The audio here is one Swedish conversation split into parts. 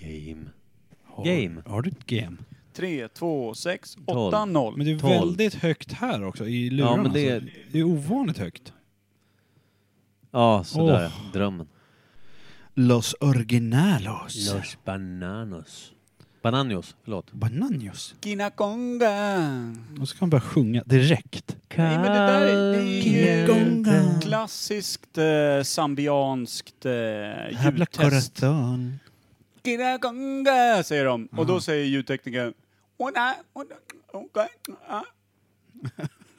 Game. Har, Game. Har du ett game? 3, 2, 6, Tolv. 8, 0. Men det är Tolv. väldigt högt här också i lurarna. Ja, men det är- alltså. det är ovanligt högt. Ja, sådär. Drömmen. Los originalos. Los Bananos. Bananios, förlåt. Bananios. Kina Konga. Och så kan man börja sjunga direkt. Nej, men det där är- det är ju Konga. klassiskt eh, zambianskt eh, Habla ljudtest. corazón. Kina Konga, säger de. Och då säger ljudteknikern... Ona, ona, ona, ah.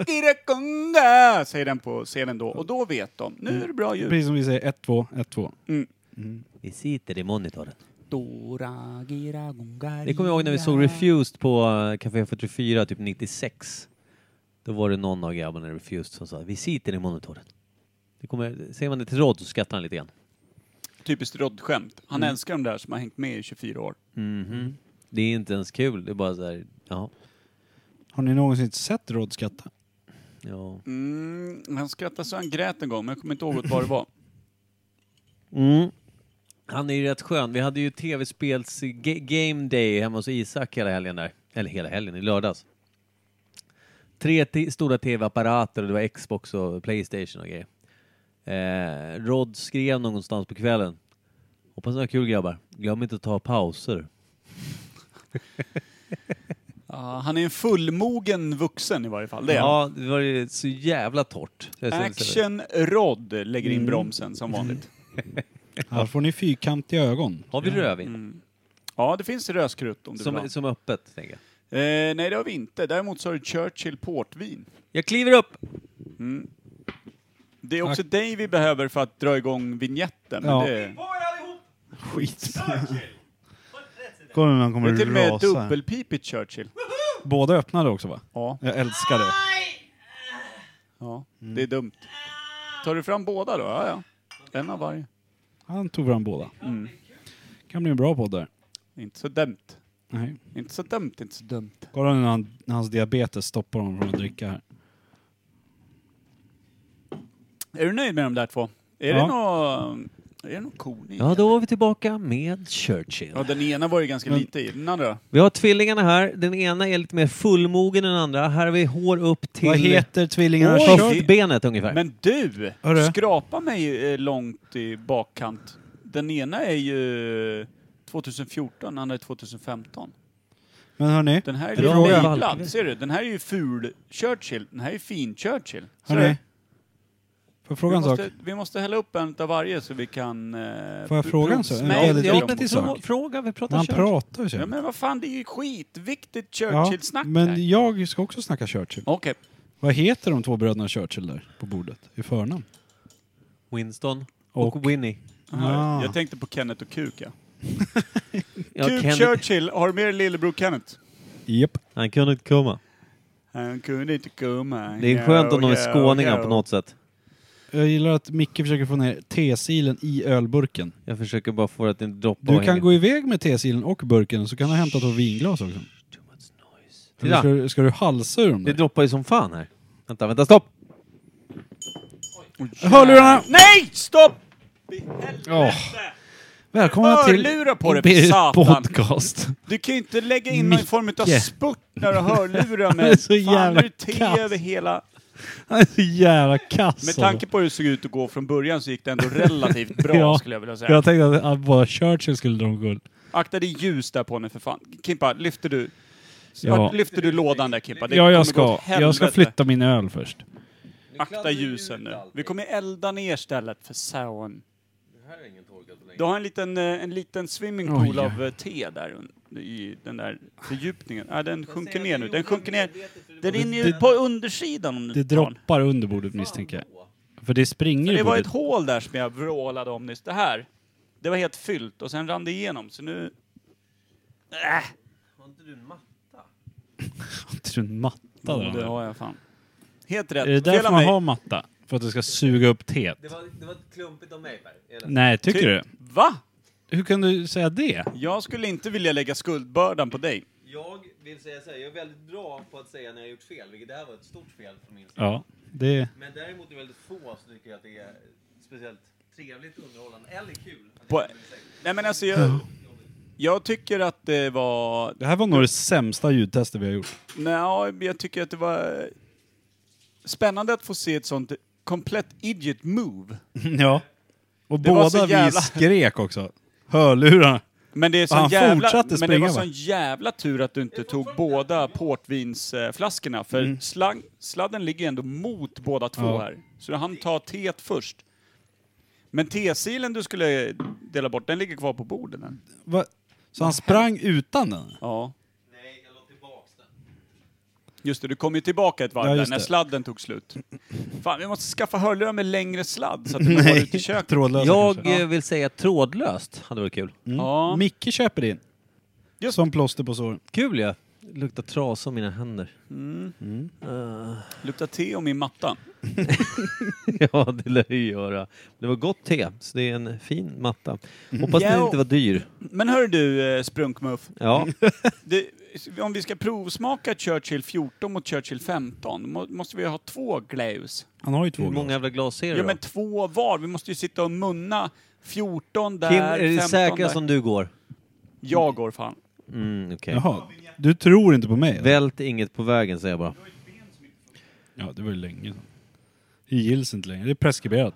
Kina Konga, säger den på scenen då. Och då vet de. Nu är det bra ljud. Precis som vi säger, 1, 2, 1, 2. Mm. Vi sitter i monitorn. Dora, gira, gunga, Det kommer jag ihåg när vi såg Refused på eh, Café 44, typ 96. Då var det någon av grabbarna i Refused som sa vi sitter i monitoren. Det kommer, säger man det till Rod så skrattar han lite grann. Typiskt råddskämt. Han älskar de där som har hängt med i 24 år. Mhm. Det är inte ens kul, det är bara så här, ja. Har ni någonsin sett Rod skratta? ja. Mm, han skrattade så han grät en gång, men jag kommer inte ihåg vad det var. Mm. Han är ju rätt skön. Vi hade ju tv-spels ga- game day hemma hos Isak hela helgen där. Eller hela helgen, i lördags. Tre ti- stora tv-apparater och det var Xbox och Playstation och grejer. Eh, Rod skrev någonstans på kvällen. Hoppas ni har kul grabbar. Glöm inte att ta pauser. Ja, han är en fullmogen vuxen i varje fall. Det är han. Ja, det var ju så jävla torrt. Jag ser- Action Rod lägger in Mm. bromsen som vanligt. Här får ni fyrkantiga ögon. Har vi rödvin? Ja, Mm, det finns rödskrutt om du vill ha. Mm. Som, som är öppet, tänker jag. eh, Nej, det har vi inte. Däremot så har du Churchill Portvin. Jag kliver upp! Det är också dig vi behöver för att dra igång vignetten. men Ja. Det, Skit. Kommer någon det kommer är till och med rasa. dubbelpipigt Churchill. Båda öppnade också va? Ja, Jag älskar det. ja. Mm. det är dumt. Tar du fram båda då? Ja, ja. En av varje. Han tog fram båda. Kan bli en bra podd där. Inte så dumt. Nej. Inte så dumt, inte så dumt. Kolla nu när, han, när hans diabetes stoppar honom från att dricka här. Är du nöjd med de där två? Är Ja. det någon... Är det någon kon i? Ja, då var vi tillbaka med Churchill. ja, den ena var ju ganska lite i. Den andra Vi har tvillingarna här. Den ena är lite mer fullmogen än den andra. Här har vi hår upp till Vad heter tvillingarna? Oj! Kör- höftbenet ungefär. Men du! Hörru. Skrapa mig eh, långt i bakkant. Den ena är ju 2014, den andra är 2015. Men hörni, Den här är Bra lite fråga. mejlad, ser du? Den här är ju ful Churchill, den här är fin Churchill. Ser du? hörni. Får jag Vi fråga en sak? måste, vi måste hälla upp en av varje så vi kan... eh, Får jag pr- fråga en sak? En provsmälja väldigt dem ja, viktig men också. det är så sak. fråga. Vi Men pratar han Churchill. pratar ju så. Ja men vad fan, det är ju skitviktigt Churchill-snack Ja, här. men jag ska också snacka Churchill. Okej. Vad heter de två bröderna Churchill där på bordet? I förnamn? Winston och, Och- Winnie. Ah. Jag tänkte på Kenneth och Kuk, ja. Ja, Kuk Kenneth- Churchill, har du med dig lillebror Kenneth? Japp. Han kunde inte komma. Han kunde inte komma. Det är skönt om de är skåningar på något sätt. Jag gillar att Micke försöker få ner tesilen i ölburken. Jag försöker bara få det att inte droppa Du kan gå iväg med tesilen och burken så kan du hämta ett vinglas också. Eller Ska, Titta, du- ska du halsa ur dem det där? droppar ju som fan här. Vänta, vänta, stopp! Hörlurarna! Nej! Stopp! Oh. Välkomna till Hörlurar på dig, för Imperiet satan. podcast. Du kan ju inte lägga in någon Micke. form av spurt när du hörlurar Han är med. så Fan, jävla nu är te kass. över hela... Han är så jävla kass. Med tanke på hur det såg ut att gå från början så gick det ändå relativt bra Ja. skulle jag vilja alltså. Jag säga. tänkte att- att bara Churchill skulle dra omkull. Akta dig ljus där på nu för fan. Kimpa, lyfter du... Ja. Lyfter du lådan där Kimpa? Det Ja, jag kommer gå ska. åt Jag ska helvete. Mm. flytta min öl först. Akta ljusen nu. Vi kommer elda ner stället för saun. Du har en liten, eh, en liten swimmingpool Oj. av eh, te där un- i den där fördjupningen. Ja, den sjunker ner nu. Den sjunker ner. Den rinner ju på undersidan om Det du tar den. droppar under bordet misstänker jag. För det springer Det i var ett bordet. hål där som jag vrålade om nyss. Det här, det var helt fyllt och sen rann det igenom. Så nu... Äh, Ett... En matta där. det har jag fan. Helt Är det rätt. därför Fel av man mig. har matta? För att det ska suga upp teet? var, det var klumpigt av mig Per. Nej, tycker du? Va? Hur kan du säga det? Jag skulle inte vilja lägga skuldbördan på dig. Jag vill säga så här, jag är väldigt bra på att säga när jag har gjort fel, vilket det här var ett stort fel från min sida. Ja, det... Men däremot är det väldigt få som tycker att det är speciellt trevligt, underhållande eller kul. På... Nej men alltså jag... Jag tycker att det var... Det här var nog det sämsta ljudtestet vi har gjort. Nja, jag tycker att det var eh, spännande att få se ett sånt komplett idiot move. Ja. Och Det var båda så vi jävla- skrek också. Hörlurarna. Men det är Och sån han jävla, fortsatte men det springa, var va? sån jävla tur att du inte tog båda portvinsflaskorna, för slang, sladden ligger ju ändå mot båda två Mm. Ja. här. Så han tar teet först. Men tesilen du skulle eh, dela bort, den ligger kvar på bordet än. Va? Så han sprang utan den? Ja. Nej, jag låg tillbaks den. Just det, du kom ju tillbaka ett varv Ja, där, just när det. sladden tog slut. Fan, vi måste skaffa hörlurar med längre sladd så att du når ut i köket. trådlösa Jag kanske. eh, vill säga trådlöst hade varit kul. Ja. Micke köper in. Just. Som plåster på såren. Kul ja. Det luktar trasa om mina händer. Lukta te om min matta. ja, det lär ju göra. Det var gott te, så det är en fin matta. Hoppas Ja, den och- inte var dyr. Men hör du, eh, Sprunkmuff. Ja, Det, om vi ska provsmaka Churchill 14 mot Churchill 15, må, måste vi ha två glaus? Han har ju två hur många många... jävla glas är det Ja, då? men två var. Vi måste ju sitta och munna 14 där, Kim, är det 15 säkra där. som du går? Jag går fan. Mm, okej. Jaha. Du tror inte på mig? eller? Vält inget på vägen säger jag bara. Ja, det var ju länge sedan. Det gills inte längre. Det är preskriberat.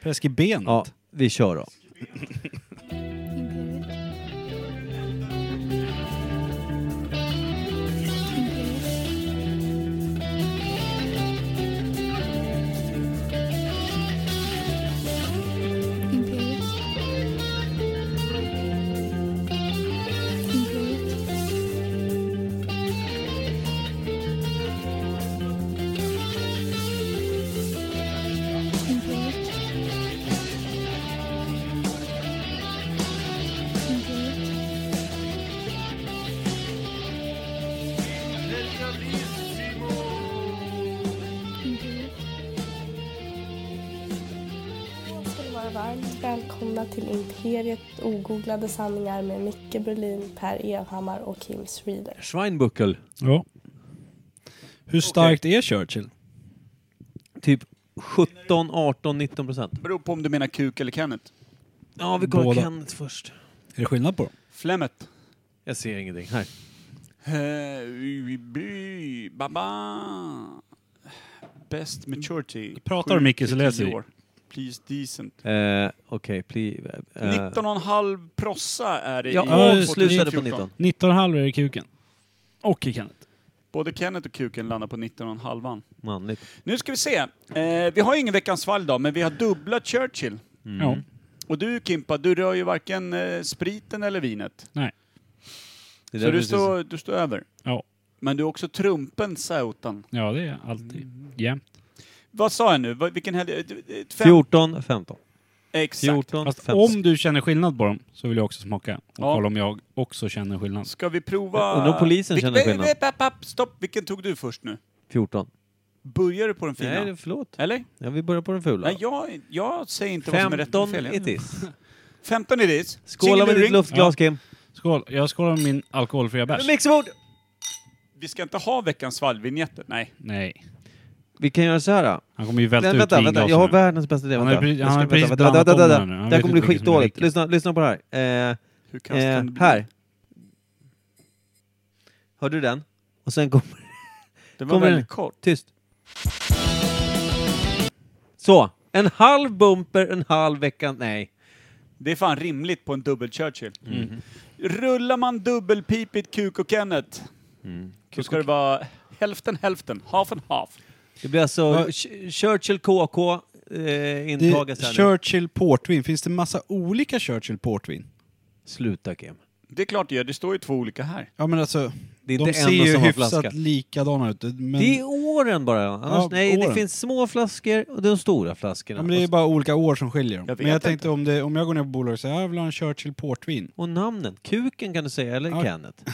Preskriberat? Ja, vi kör då. Imperial. Imperial. Imperial. Imperial. ska ni vara varmt välkomna till Imperiet ogooglade sanningar med Micke Berlin, Per Evhammar och Kim Schreeder. Schweinbuckel. Ja. Hur starkt är Churchill? Typ 17, 18, 19 procent. Beror på om du menar kuk eller Kenneth. Ja, vi kollar Båda. Kenneth först. Är det skillnad på dem? Flemmet. Jag ser ingenting. Här. Eh, vi- vi- Baba. Best maturity. Pratar du, Sju Micke, till så läser tio vi. år. Please decent. Eh, Okej, pli- eh, 19,5 prossa är det Ja, Ja, ja just det. slutade på 2014. 19. 19,5 är det kuken. Och i Kenneth. Både Kenneth och kuken landar på 19,5. Manligt. Nu ska vi se. Eh, vi har ingen veckans fall idag, men vi har dubbla Churchill. Mm. Ja. Och du Kimpa, du rör ju varken eh, spriten eller vinet. Nej. Det Så där du precis- står, du står över. Ja. Men du är också trumpen sautan. Ja, det är alltid. Jämt. Vad sa jag nu? Vad- Vilken helg? eh, Fem- 14, 15. Exakt. 14, Fast 15. om du känner skillnad på dem så vill jag också smaka. Och Ja. kolla om jag också känner skillnad. Ska vi prova... Jag undrar om polisen Vil- känner vä- skillnad. vä- vä- papp, Stopp, vilken tog du först nu? 14. Börjar du på den fina? Nej, det- förlåt. Eller? Ja, vi börjar på den fula. Nej, jag, jag säger inte vad som är rätt och 15 fel. it is. 15 it is. Skåla med ditt Singeluring. luftglas, Kim. Skål. Jag skålar med min alkoholfria bärs. Mixerbord! Vi ska inte ha veckans vallvinjetter. Nej. Nej. Vi kan göra så här. då. Han kommer ju välta Vänta, ut vänta, vänta. vinglasen Jag har nu. världens bästa idé. Han har Vänta. ju pre- Jag han har ska- ju precis vänta, vänta, vänta, blandat vänta. om här nu. Han Det här vet kommer bli inte vilken som är skitdåligt. vilken. Lyssna, lyssna på det här. Eh, Hur kastar Eh, den bli? här. Hörde du den? Och sen kommer... Det var kommer den. väldigt kort. Tyst. Så. En halv bumper, en halv vecka... Nej. Det är fan rimligt på en dubbel Churchill. Mm. Rullar man dubbelpipigt kuk och Kenneth, då ska det vara hälften hälften, half and half. Det blir alltså Va? Ch- Churchill KK eh, intaget Det, här nu. Churchill portvin. Finns det massa olika Churchill portvin? Sluta Kim. Det är klart det gör, det står ju två olika här. Ja men alltså, Det är de inte en ser och ju samma hyfsat flaska. likadana ut. Men, Det är åren bara. Annars, Ja, nej, det åren. finns små flaskor och de stora flaskorna. ja, men det är Och- bara olika år som skiljer dem. Jag vet men jag inte. tänkte om, det, om jag går ner på bolaget och säger jag vill ha en Churchill portvin. Och namnen. Kuken kan du säga, eller Ja. Kenneth.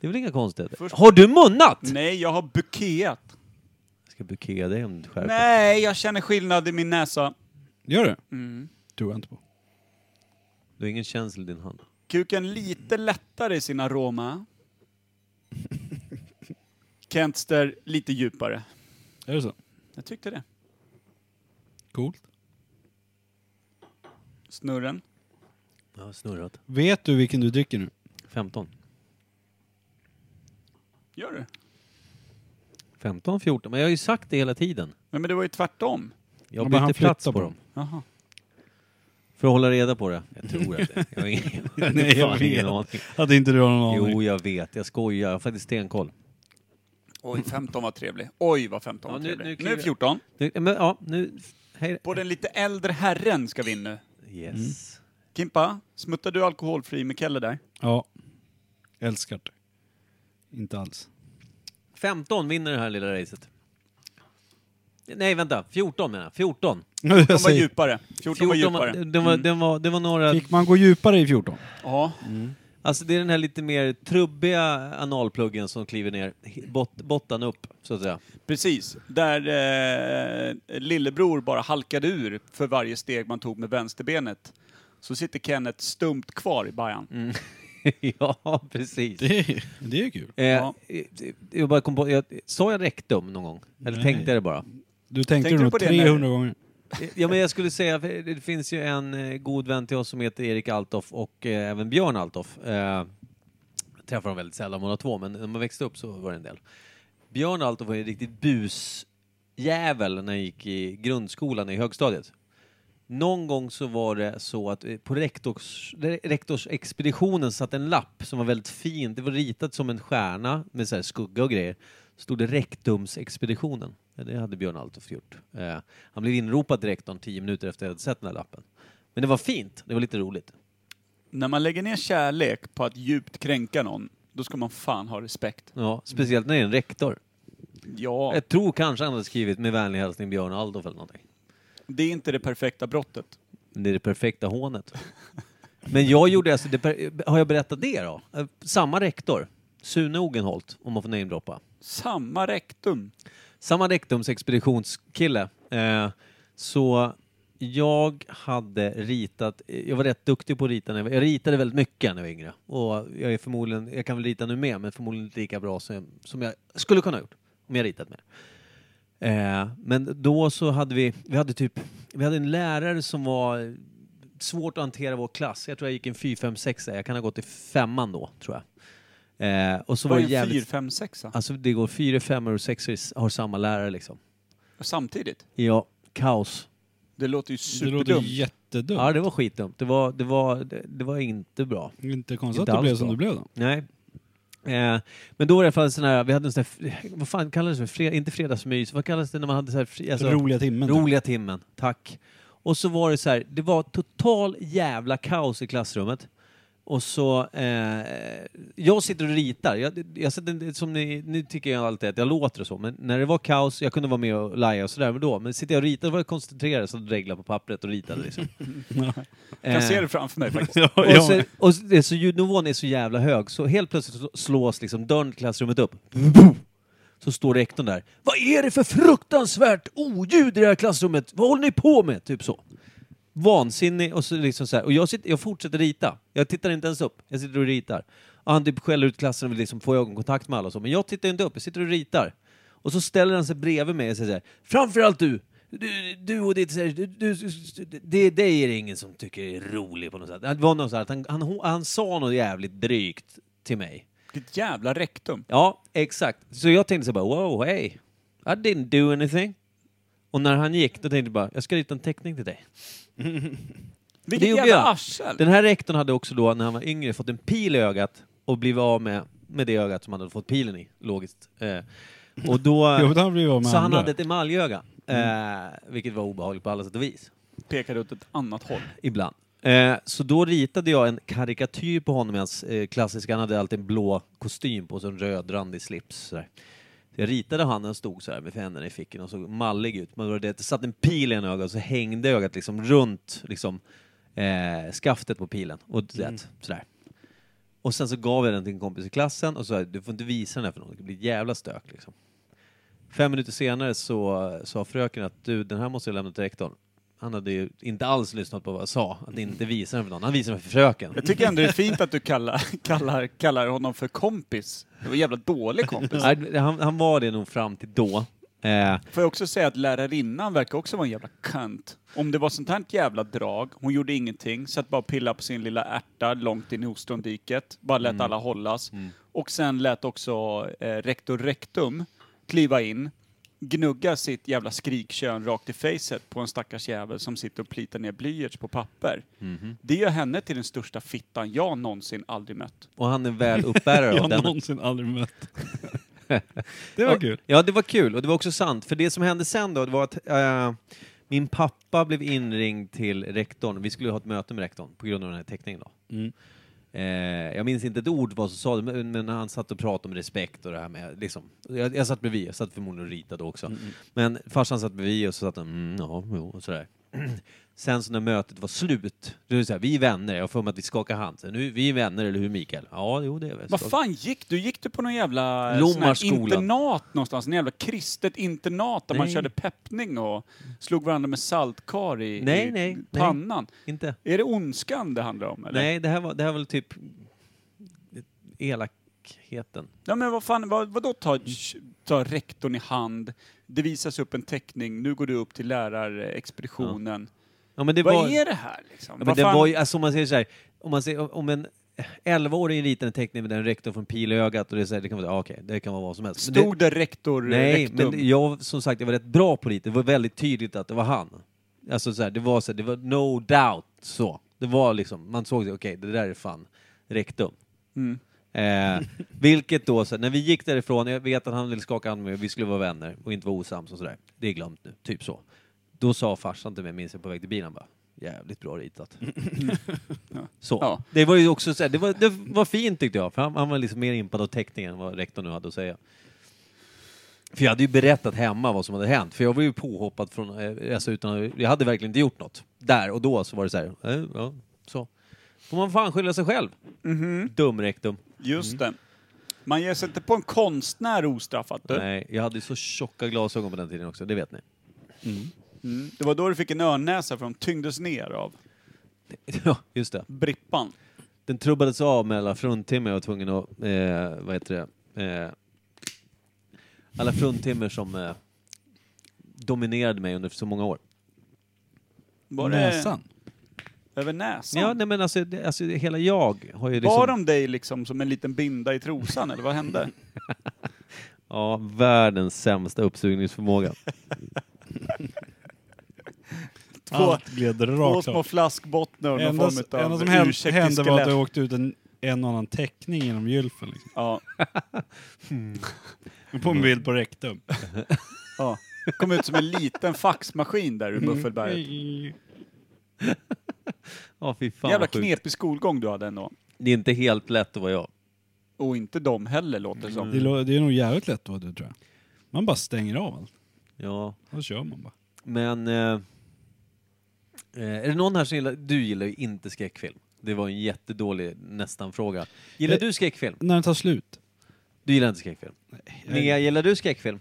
Det är väl inga konstigheter. Först- Har du munnat? Nej, jag har bukeat. Jag ska bukea dig om du skärper dig. Nej, jag känner skillnad i min näsa. Gör du? Mm. Tror jag inte på. Du har ingen känsla i din hand. Kuken lite lättare i sin aroma. Kentster lite djupare. Är det så? Jag tyckte det. Coolt. Snurren. Jag har snurrat. Vet du vilken du dricker nu? 15. Gör du? 15, 14. Men jag har ju sagt det hela tiden. Nej, men det var ju tvärtom. Ja, Jag men byter han plats flyttar på, på dem. Jaha. För att hålla reda på det. Jag tror att det. Jag har ingen, Nej, jag fan ingen aning. vet. Hade inte du någon aning? Jo, jag vet. Jag skojar. Jag har faktiskt stenkoll. Oj, 15 var trevlig. Oj, vad 15 Ja, var nu- trevlig. nu Nu, kliver- 14. Nu, men, ja, nu... Hej. På den lite äldre herren ska vi in nu. Yes. Kimpa, smuttar du alkoholfri med Kelle där? Ja. Älskar det. Inte alls. 15 vinner det här lilla racet. Nej, vänta. 14 menar jag. 14. Jag De var säger, djupare. 14, var djupare. Mm. den var, den var, det var några... Mm. fick man gå djupare i 14? Ja. Alltså det är den här lite mer trubbiga analpluggen som kliver ner, he- bot, botten upp, så att säga. Precis, där eh, lillebror bara halkade ur för varje steg man tog med vänsterbenet. Så sitter Kenneth stumt kvar i bajan. Mm. ja, precis. Det, det är kul. Eh, Ja. eh, Jag bara kom på, jag, sa jag rektum någon gång? Eller Nej. tänkte jag det bara? Du tänkte, Tänkte du nog på det 300 gånger. Eh, Ja, men jag skulle säga, för det finns ju en eh, god vän till oss som heter Erik Altoff och eh, även Björn Altoff. Eh, jag träffar dem väldigt sällan, båda två, men när man växte upp så var det en del. Björn Altoff var ju en riktigt busjävel när han gick i grundskolan i högstadiet. Någon gång så var det så att eh, på rektors, rektorsexpeditionen satt en lapp som var väldigt fin. Det var ritat som en stjärna med så här skugga och grejer. Stod det rektumsexpeditionen. Ja, Det hade Björn Altoff gjort. Eh, han blev inropad till rektorn tio minuter efter att jag hade sett den här lappen. Men det var fint. Det var lite roligt. När man lägger ner kärlek på att djupt kränka någon, då ska man fan ha respekt. Ja, speciellt när det är en rektor. Ja, Jag tror kanske han hade skrivit med vänlig hälsning Björn Altoff eller någonting. det är inte det perfekta brottet. Men det är det perfekta hånet. Men jag gjorde alltså, det per- har jag berättat det då? Eh, Samma rektor, Sune Ogenholt, om man får namedroppa. Samma rektum. Samma rektumsexpeditionskille. Eh, så jag hade ritat, jag var rätt duktig på att rita, när jag, var- jag ritade väldigt mycket när jag var yngre. Och jag är förmodligen, jag kan väl rita nu med, men förmodligen inte lika bra som jag, som jag skulle kunna ha gjort om jag ritat med. Eh, men då så hade vi, vi hade typ, vi hade en lärare som var svårt att hantera vår klass. Jag tror jag gick en 4, 5, 6, jag kan ha gått i femman då, tror jag. Eh, och så Vad var är det en jävligt... 4, 5, 6 Alltså det går fyra, femmor och sexor har samma lärare liksom. Samtidigt. Ja, kaos. Det låter ju Det låter superdumt. jättedumt. Ja, det var skitdumt. Det var, det var, det, det var inte bra. Inte konstigt Inte att det blev alls som bra. det blev då. Nej. Eh, men då var det i alla fall sån här, vi hade en sån här, vad fan kallades det? Fred, inte fredagsmys, vad kallades det när man hade så här, fri- alltså, Roliga timmen. typ. Roliga timmen, tack. Och så var det så här, det var total jävla kaos i klassrummet. Och så, eh, jag sitter och ritar. Jag, jag sitter, som ni, ni tycker jag alltid att jag låter och så, men när det var kaos, jag kunde vara med och laja och sådär, men då, men sitter jag och ritar, då var jag koncentrerad, så dreglade på pappret och ritade liksom. Eh, Jag kan se det framför mig faktiskt. Eh. Ja, Och, ja, så, och så, så ljudnivån är så jävla hög så helt plötsligt så slås liksom dörren till klassrummet upp. Så står rektorn där. Vad är det för fruktansvärt oljud i det här klassrummet? Vad håller ni på med? Typ så. Vansinnig och så liksom så här. Och jag, sitter, jag fortsätter rita. Jag tittar inte ens upp. Jag sitter och ritar. Och han typ skäller ut klassen och vill liksom få ögonkontakt med alla och så. Men jag tittar inte upp. Jag sitter och ritar. Och så ställer han sig bredvid mig och säger så här. Framförallt du! Du, du och ditt... så här, Du, du, du, det, dig är det ingen som tycker är rolig på något sätt. Det var något så här, att han, han, han sa något jävligt drygt till mig. Ditt jävla rektum. Ja, exakt. Så jag tänkte så bara, wow, hey, I didn't do anything. Och när han gick, då tänkte jag bara, jag ska rita en teckning till dig. Vilket gjorde jävla jag. arsel. Den här rektorn hade också då, när han var yngre, fått en pil i ögat och blivit av med, med det ögat som han hade fått pilen i, logiskt. Eh, och då, Jo, han blev av med så han andra. Mm. hade ett emaljöga, eh, vilket var obehagligt på alla sätt och vis. Pekar åt ett annat håll. Ibland. Eh, så då ritade jag en karikatyr på honom i hans eh, klassiska, han hade alltid en blå kostym på sig, en röd randig slips. Sådär. Så jag ritade han, han stod så här med händerna i fickan och såg mallig ut. Men det var det att det satt en pil i en öga och så hängde ögat liksom runt liksom, eh, skaftet på pilen. Och du vet, sådär. Och sen så gav jag den till en kompis i klassen och sa du får inte visa den här för någon, det blir ett jävla stök liksom. Fem minuter senare så sa fröken att du, den här måste jag lämna till rektorn. Han hade ju inte alls lyssnat på vad jag sa, att inte visa den för någon. Han visade den för fröken. Jag tycker ändå det är fint att du kallar, kallar, kallar honom för kompis. Det var en jävla dålig kompis. Nej, Han, han var det nog fram till då. Eh, Får jag också säga att lärarinnan verkar också vara en jävla kant. Om det var sånt här jävla drag, hon gjorde ingenting, satt bara och pillade på sin lilla ärta långt in i ostrondiket, bara lät alla hållas. Och sen lät också eh, rektor rektum kliva in, gnugga sitt jävla skrikkön rakt i facet på en stackars jävel som sitter och plitar ner blyerts på papper. Mm. Det gör henne till den största fittan jag någonsin aldrig mött. och han är väl uppbärare av Jag har den någonsin aldrig mött. det var kul. Ja, det var kul och det var också sant. För det som hände sen då, det var att eh, min pappa blev inringd till rektorn. Vi skulle ha ett möte med rektorn på grund av den här teckningen då. Mm. Eh, jag minns inte ett ord vad som sa men, men han satt och pratade om respekt och det här med liksom. Jag, jag satt bredvid, jag satt förmodligen och ritade också. Mm, Men farsan satt bredvid och så satt han, mm, ja, jo, och sådär. Sen så när mötet var slut, då är det så här, vi är vänner, jag har för mig att vi skakar hand. Så, nu, vi är vänner, eller hur Mikael? Ja, jo det är vi. Vad fan gick du? Gick du på någon jävla eh, Lommarskolan. sån här internat någonstans? En jävla kristet internat där man Nej. körde peppning och slog varandra med saltkar i, Nej, nej, i nej. pannan. Inte. Är det ondskan det handlar om eller? Nej, det här var, det här var väl typ elakheten. Ja men vad fan, vad, vadå ta, ta rektorn i hand, det visas upp en teckning, nu går du upp till lärarexpeditionen. Ja, men det Vad var, är det här liksom? Ja, men Vad det fan- var ju, alltså, om man säger så här, om, man säger, om en 11-åring ritar en teckning med den rektorn från pilögat och det, är så här, det kan vara ja, okej, det kan vara vad som helst. Men det- Stod det rektor, Nej, rektum? men jag, som sagt, jag var rätt bra på det. Det var väldigt tydligt att det var han. Alltså så här, det var så här, det var no doubt så. Det var liksom, man såg det, okej, det där är fan rektum. Mm. Eh, vilket då, så här, när vi gick därifrån, jag vet att han ville skaka hand med mig, vi skulle vara vänner och inte vara osams och sådär. Det är glömt nu, typ så. Då sa farsan till mig, minns jag på väg till bilen, bara, jävligt bra ritat. så. Ja. Det var ju också så här, det var, det var fint tyckte jag, för han, han var liksom mer impad av teckningen än vad rektorn nu hade att säga. För jag hade ju berättat hemma vad som hade hänt, för jag var ju påhoppad från, eh, alltså utan, jag hade verkligen inte gjort något. Där och då så var det så här, eh, ja, så. Får man fan skylla sig själv. Dum rektum. Mm-hmm. Just Mm. det. Man ger sig inte på en konstnär ostraffat du. Nej, jag hade ju så tjocka glasögon på den tiden också, det vet ni. Mm. Det var då du fick en örnnäsa för de tyngdes ner av Ja, just det. brippan. Den trubbades av mellan fruntimmer jag var tvungen att, eh, vad heter det, eh, alla fruntimmer som eh, dominerade mig under så många år. Var det Näsan. Över näsan? Ja, nej men alltså, det, alltså det, hela jag har ju liksom... Bar de dig liksom som en liten binda i trosan eller vad hände? Ja, världens sämsta uppsugningsförmåga. Två, Allt gled två rakt små av. flaskbottnar och Det någon enda form det enda av som hände, ursäkt hände till var att det skelett. åkte ut en, en och annan teckning genom gylfen. Liksom. Ja, På en bild på rektum. ja. Kom ut som en liten faxmaskin där ur Mm. Muffelberget. Ja, fy fan Jävla vad sjukt. knepig skolgång du hade ändå. Det är inte helt lätt att vara jag. Och inte de heller låter det som. Det, Mm. lå- det är nog jävligt lätt vad du tror jag. Man bara stänger av allt. Ja, Då kör man bara. men... Eh, eh, är det någon här som gillar... Du gillar ju inte skräckfilm. Det var en jättedålig nästan-fråga. Gillar Eh. du skräckfilm? När den tar slut. Du gillar inte skräckfilm. Nea, gillar du skräckfilm?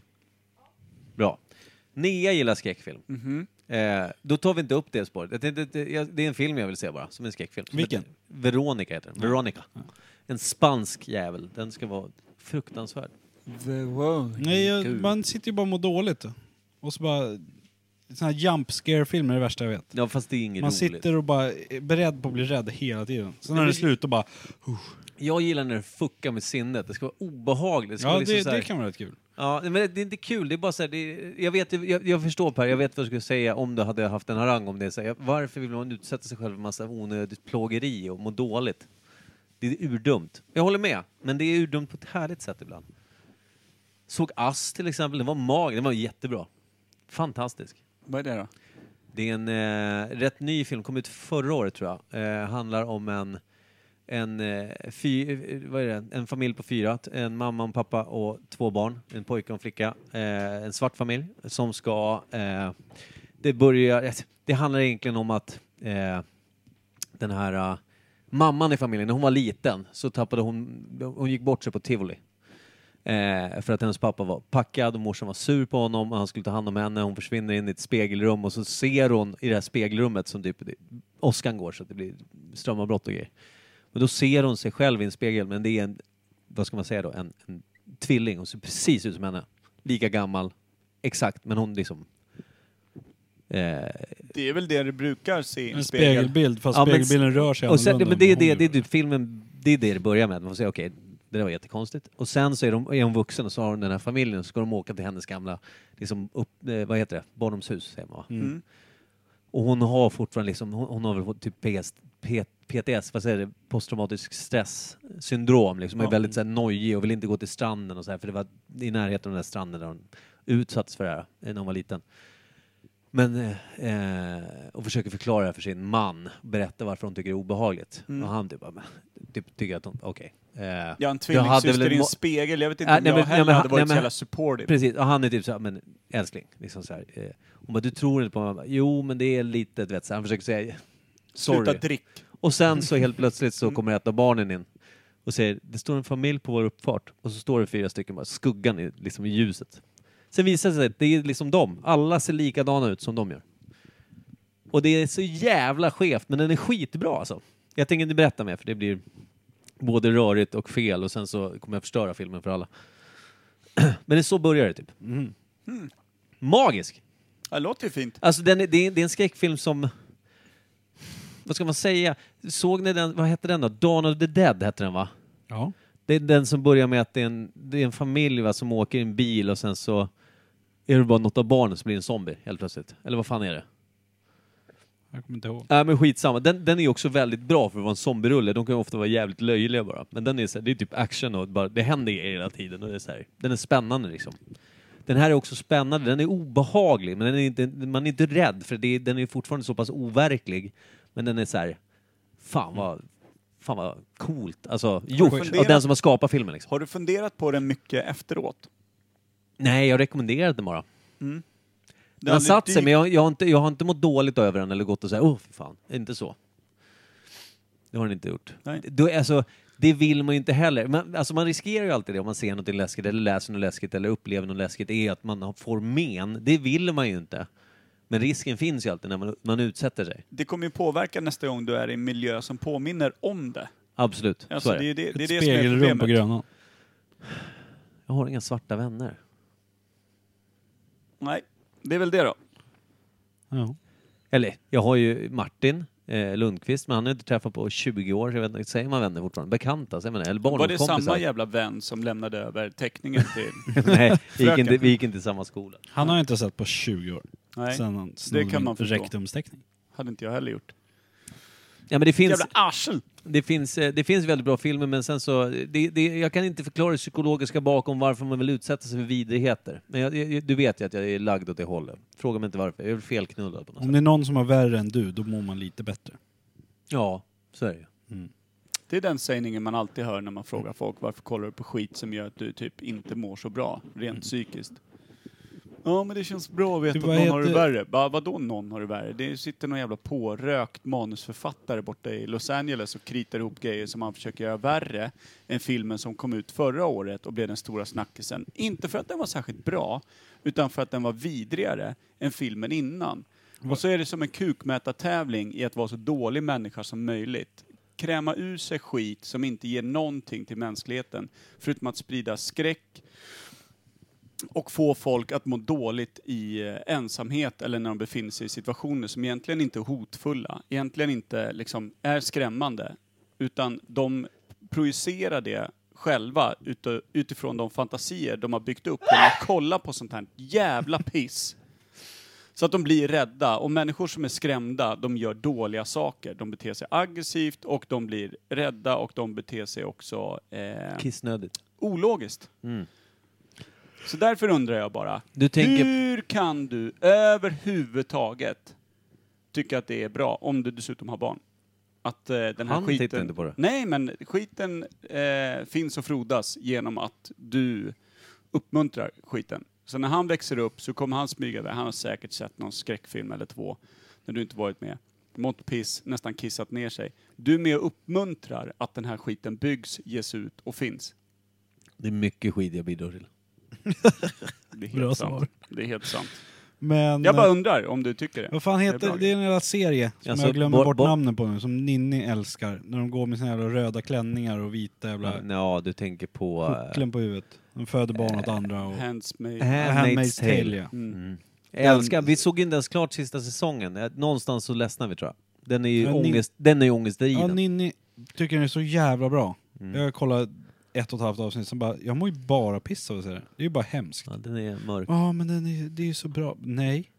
Bra. Nea gillar skräckfilm. Mhm. Eh, då tar vi inte upp det spåret. Jag tänkte- Det, jag- det är en film jag vill se bara, som en skräckfilm. Som Vilken? heter Veronica heter den. Veronica. En spansk jävel. Den ska vara fruktansvärd. Nej, jag, man sitter ju bara och mår dåligt. då. Och så bara... Såna här jump scare-filmer är det värsta jag vet. Ja, fast det är inget Man roligt. sitter och bara är beredd på att bli rädd hela tiden. Sen när det är slut och bara... Jag gillar när det fuckar med sinnet. Det ska vara obehagligt. Det ska Ja, vara liksom det, så här- det kan vara rätt kul. Ja, men det är inte kul. Det är bara så här, det är, jag, vet, jag, jag förstår Per, jag vet vad jag skulle säga om du hade haft en harang om det. Så här, varför vill man utsätta sig själv för massa onödigt plågeri och må dåligt? Det är urdumt. Jag håller med, men det är urdumt på ett härligt sätt ibland. Såg Ass till exempel, den var mag, den var jättebra. Fantastisk. Vad är det då? Det är en eh, rätt ny film, kom ut förra året tror jag. Eh, handlar om en, en, eh, fy, eh, vad är det? en familj på fyra. T- En mamma, en pappa och två barn. En pojke och en flicka. Eh, en svart familj som ska... Eh, det börjar... eh, Det handlar egentligen om att eh, den här eh, mamman i familjen, när hon var liten så tappade hon... Hon gick bort sig på tivoli. Eh, för att hennes pappa var packad och morsan var sur på honom och han skulle ta hand om henne. Hon försvinner in i ett spegelrum och så ser hon i det här spegelrummet som typ åskan går så att det blir strömavbrott och grejer. Men då ser hon sig själv i en spegel men det är en, vad ska man säga då, en, en tvilling. Hon ser precis ut som henne. Lika gammal, exakt, men hon liksom... Eh, Det är väl det du brukar se i En en spegel. spegelbild fast Ja, men- spegelbilden rör sig och sen, annorlunda men det är än vad det, hon det är gör. typ filmen, det är det det börjar med. Man får säga okej, det där var jättekonstigt. Och sen så är, de, är hon vuxen och så har hon den här familjen och så ska de åka till hennes gamla, liksom upp, eh, vad heter det, barndomshus säger man va? Mm. Och hon har fortfarande liksom, hon, hon har väl fått typ PS, P, PTS, vad säger det, posttraumatisk stresssyndrom liksom. Hon är Ja. väldigt så här, nojig och vill inte gå till stranden och så här, för det var i närheten av den där stranden där hon utsattes för det här eh, när hon var liten. Men, eh, eh, och försöker förklara det här för sin man, berätta varför hon tycker det är obehagligt. Och han typ, bara, men, typ tycker att hon, okej. eh, Jag har en du hade väl tvillingsyster i en må- spegel. Jag vet Nej, inte om nej, jag men- nej, heller men hade han- varit nej, så men- jävla supportive. Precis, och han är typ såhär, men älskling, liksom så här, eh, hon bara, du tror inte på mig? Han bara, Jo, men det är lite, du vet, så här, han försöker säga, sorry. Sluta drick. Och sen så helt plötsligt så kommer ett av barnen in och säger det står en familj på vår uppfart och så står det fyra stycken bara skuggan i, liksom i ljuset. Sen visar det sig att det är liksom dem. Alla ser likadana ut som de gör. Och det är så jävla skevt men den är skitbra alltså. Jag tänker inte berätta mer för det blir både rörigt och fel och sen så kommer jag förstöra filmen för alla. Men det är så börjar det typ. Magisk! Ja, Det låter ju fint. Alltså den är, det, är, det är en skräckfilm som... Vad ska man säga? Såg ni den, vad hette den då? Dawn of the Dead hette den va? Ja. Det är den som börjar med att det är en, det är en familj va, som åker i en bil och sen så är det bara något av barnen som blir en zombie helt plötsligt. Eller vad fan är det? Jag kommer inte ihåg. Nej men skitsamma. Den, den är ju också väldigt bra för att vara en zombierulle. De kan ju ofta vara jävligt löjliga bara. Men den är så här, det är typ action och bara, det händer grejer hela tiden. Och det är så här, den är spännande liksom. Den här är också spännande. Den är obehaglig men den är inte, man är inte rädd för det, är- den är fortfarande så pass overklig. Men den är så här, fan vad, fan vad coolt. Alltså gjort av funderat- den som har skapat filmen liksom. Har du funderat på den mycket efteråt? Nej, jag rekommenderar den bara. Den Den har hade satt sig dykt- men jag, jag, har inte, jag har inte mått dåligt över den eller gått och sagt åh för fan, inte så. Det har den inte gjort. Nej. Då, alltså, det vill man ju inte heller. Man, alltså, man riskerar ju alltid det om man ser något läskigt eller läser något läskigt eller upplever något läskigt, är att man har- får men. Det vill man ju inte. Men risken finns ju alltid när man, man utsätter sig. Det kommer ju påverka nästa gång du är i en miljö som påminner om det. Absolut, Alltså, så är det det. är det, det, är Ett det som är spegelrum på problemet. Grönan. Jag har inga svarta vänner. Nej, det är väl det då. Ja. Eller, jag har ju Martin eh, Lundqvist, men han har jag inte träffat på 20 år, så jag vet inte, säger man vänner fortfarande? Bekanta, säger man det? Eller Var det barndomskompisar? samma jävla vän som lämnade över teckningen till... Nej, vi gick, Fröken. inte, vi gick inte i samma skola. Han har jag inte sett på 20 år. Nej, Sen han snodde kan min man förstå. rektumsteckning. hade inte jag heller gjort. Ja, men det, finns, Jävla arsel! det, finns, eh, det finns väldigt bra filmer, men sen så... Det, det, jag kan inte förklara det psykologiska bakom varför man vill utsätta sig för vidrigheter. Men jag, jag, du vet ju att jag är lagd åt det hållet. Fråga mig inte varför. Jag är väl felknullad på något Om sätt. det är någon som har värre än du, då mår man lite bättre. Ja, så är det ju. Det är den sägningen man alltid hör när man frågar folk varför kollar du på skit som gör att du typ inte mår så bra, rent psykiskt. Ja men det känns bra att veta Du, att vad någon har det heter- värre. Bara, vadå någon har det värre? Det sitter någon jävla pårökt manusförfattare borta i Los Angeles och kritar ihop grejer som han försöker göra värre än filmen som kom ut förra året och blev den stora snackisen. Inte för att den var särskilt bra, utan för att den var vidrigare än filmen innan. Och så är det som en kukmätartävling i att vara så dålig människa som möjligt. Kräma ur sig skit som inte ger någonting till mänskligheten, förutom att sprida skräck och få folk att må dåligt i eh, ensamhet eller när de befinner sig i situationer som egentligen inte är hotfulla, egentligen inte liksom är skrämmande, utan de projicerar det själva ute- utifrån de fantasier de har byggt upp genom att kolla på sånt här jävla piss. Så att de blir rädda. Och människor som är skrämda, de gör dåliga saker. De beter sig aggressivt och de blir rädda och de beter sig också eh, Kissnödigt. Mm. ologiskt. Så därför undrar jag bara, Du tänker- Mm. hur kan du överhuvudtaget tycka att det är bra, om du dessutom har barn? Att eh, den här Han skiten... tittar inte på det. Nej, men skiten eh, finns och frodas genom att du uppmuntrar skiten. Så när han växer upp så kommer han smyga iväg. Han har säkert sett någon skräckfilm eller två när du inte varit med. Mått piss, nästan kissat ner sig. Du är med och uppmuntrar att den här skiten byggs, ges ut och finns. Det är mycket skit jag bidrar till. Det är helt Bra sant. svar. Det är helt sant. Men... eh, eh, Jag bara undrar om du tycker det. Vad fan Det är bra. heter det? är en jävla serie som Alltså, jag glömmer bo- bort bo- namnen på nu, som Ninni älskar. När de går med sina jävla röda klänningar och vita jävla Mm, Ja, du tänker på... eh, hucklen på huvudet. De föder barn åt andra och... Hands me. Handmaid's Tale. ja. mm. Jag älskar, vi såg inte ens klart sista säsongen. Eh, Någonstans så ledsnade vi tror jag. Den är ju Ja, ni- ångest, den är ju Ja, ångestdriven. Ninni tycker den är så jävla bra. Mm. Jag kollade ett och ett halvt avsnitt, sen bara, jag mår ju bara piss av att se den. Det är ju bara hemskt. ja, den är mörk. Ja, men den är, det är ju så bra. Nej.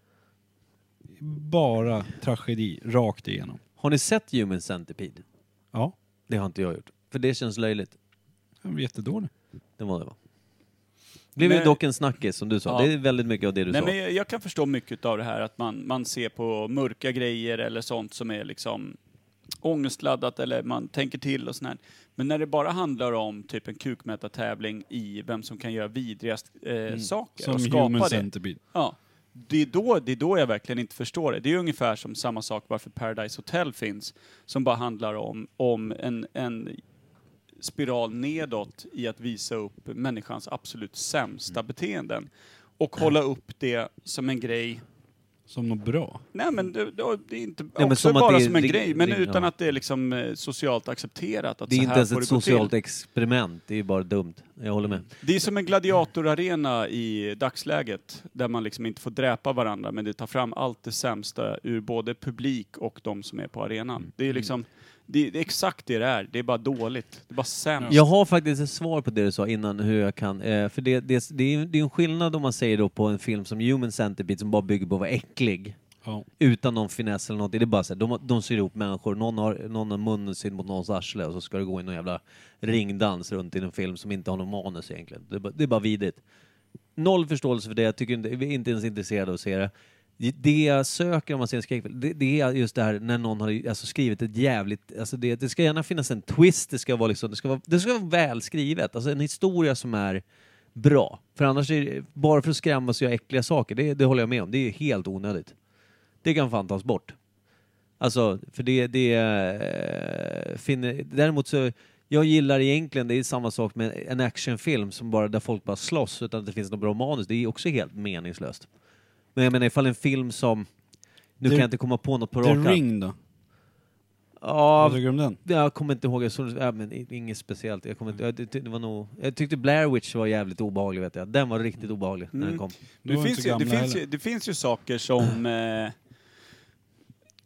Bara tragedi, rakt igenom. Har ni sett Human Centipede? Ja, Det har inte jag gjort. För det känns löjligt. den var jättedålig. Det var det va? Det blev ju Men- dock en snackis som du sa. Ja. Det är väldigt mycket av det du Nej, sa. men jag, jag kan förstå mycket av det här att man, man ser på mörka grejer eller sånt som är liksom ångestladdat eller man tänker till och sånt här. Men när det bara handlar om typ en kukmätartävling i vem som kan göra vidrigast eh, saker Som och skapa Human det. Centipede. Ja. Det är, då, det är då jag verkligen inte förstår det. Det är ungefär som samma sak varför Paradise Hotel finns, som bara handlar om, om en, en spiral nedåt i att visa upp människans absolut sämsta beteenden. Och hålla upp det som en grej. Som något bra. Nej men det, det det är inte men också som att bara det är som en ring- grej, men ring- utan ja. att det är liksom eh, socialt accepterat. Att det är så inte här ens får ett det gå till. socialt experiment. Det är ju bara dumt. Jag håller med. Det är som en gladiatorarena i dagsläget, där man liksom inte får dräpa varandra, men det tar fram allt det sämsta ur både publik och de som är på Mm. arenan. Det är liksom, det är exakt det det är, det är bara dåligt, det är bara sämst. Jag har faktiskt ett svar på det du sa innan hur jag kan, eh, för det, det, det, är, det är en skillnad om man säger då på en film som Human Centipede som bara bygger på att vara äcklig. Ja. Utan någon finess eller något. Det är bara så här, de, de syr ihop människor. Någon har, någon har munnen sydd mot någons arsle och så ska det gå in någon jävla ringdans runt i en film som inte har någon manus egentligen. Det är bara, det är bara vidigt. Noll förståelse för det. Jag tycker inte, vi är inte ens intresserade av att se det. Det jag söker om man ser en skräckfilm, det, det är just det här när någon har alltså, skrivit ett jävligt... Alltså det, det ska gärna finnas en twist, det ska vara, liksom, det ska vara, det ska vara välskrivet. Alltså en historia som är bra. För annars, är, det- bara för att skrämma så gör jag äckliga saker, det, det håller jag med om. Det är helt onödigt. Det kan fan tas bort. Alltså, för det, det eh, finner... Däremot så, jag gillar egentligen, det är samma sak med en actionfilm som bara, där folk bara slåss utan att det finns något bra manus. Det är också helt meningslöst. Men jag menar ifall en film som... Nu The- kan jag inte komma på något på The rak arm. Ring då? Ja, Vad Alltså- tycker du om den? jag kommer inte ihåg, jag såg, ja, men i- inget speciellt. Jag, kommer inte, jag, tyckte- det var nog, jag tyckte Blair Witch var jävligt obehaglig vet jag. Den var riktigt obehaglig när den kom. De Det var inte finns, ju, det, gamla finns ju, heller. det finns ju saker som Mm. eh,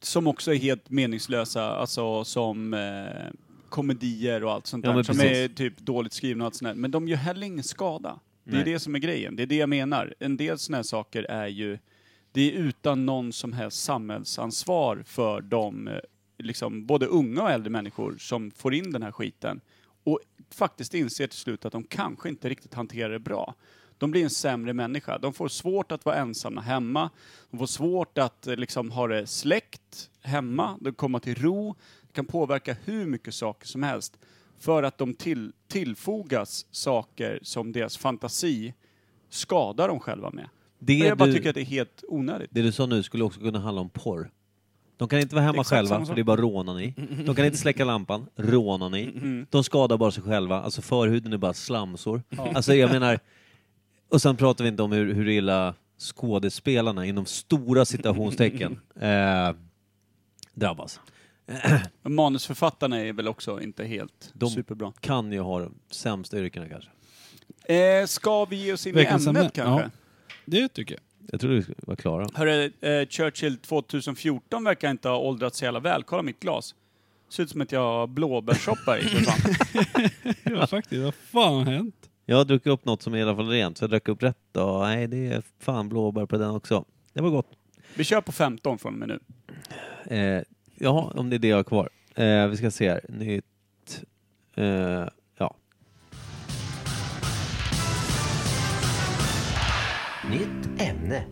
som också är helt meningslösa, alltså som eh, komedier och allt sånt Ja, där, men som precis. är typ dåligt skrivna och allt sånt där. Men de gör heller ingen skada. Det Nej. är det som är grejen, det är det jag menar. En del såna här saker är ju, det är utan någon som helst samhällsansvar för de, eh, liksom, både unga och äldre människor som får in den här skiten. Och faktiskt inser till slut att de kanske inte riktigt hanterar det bra. De blir en sämre människa. De får svårt att vara ensamma hemma. De får svårt att eh, liksom, ha det släkt hemma. De kommer till ro. Det kan påverka hur mycket saker som helst. För att de till, tillfogas saker som deras fantasi skadar dem själva med. Det Men jag bara du- tycker att det är helt onödigt. Det du sa nu skulle också kunna handla om porr. De kan inte vara hemma Exakt själva, samma för sak. det är bara rånani. De kan inte släcka lampan, rånani. De skadar bara sig själva, alltså förhuden är bara slamsor. Alltså jag menar, och sen pratar vi inte om hur, hur illa skådespelarna, inom stora citationstecken, eh, drabbas. Manusförfattarna är väl också inte helt De superbra. kan ju ha de sämsta yrkena kanske. Eh, ska vi ge oss in i ämnet Veckans ämne? kanske? Ja. Det tycker jag. Jag tror vi skulle vara klara. Hörru, eh, Churchill 2014 verkar inte ha åldrats så jävla väl. Kolla mitt glas. Ser ut som att jag har blåbärssoppa i för fan. Ja faktiskt, vad fan har hänt? Jag har druckit upp något som är i alla fall rent, så jag drack upp rätt och nej, det är fan blåbär på den också. Det var gott. Vi kör på 15 från och med nu. Eh, ja, om det är det jag har kvar. Eh, vi ska se här. Nytt. Eh, ja. Nytt ämne.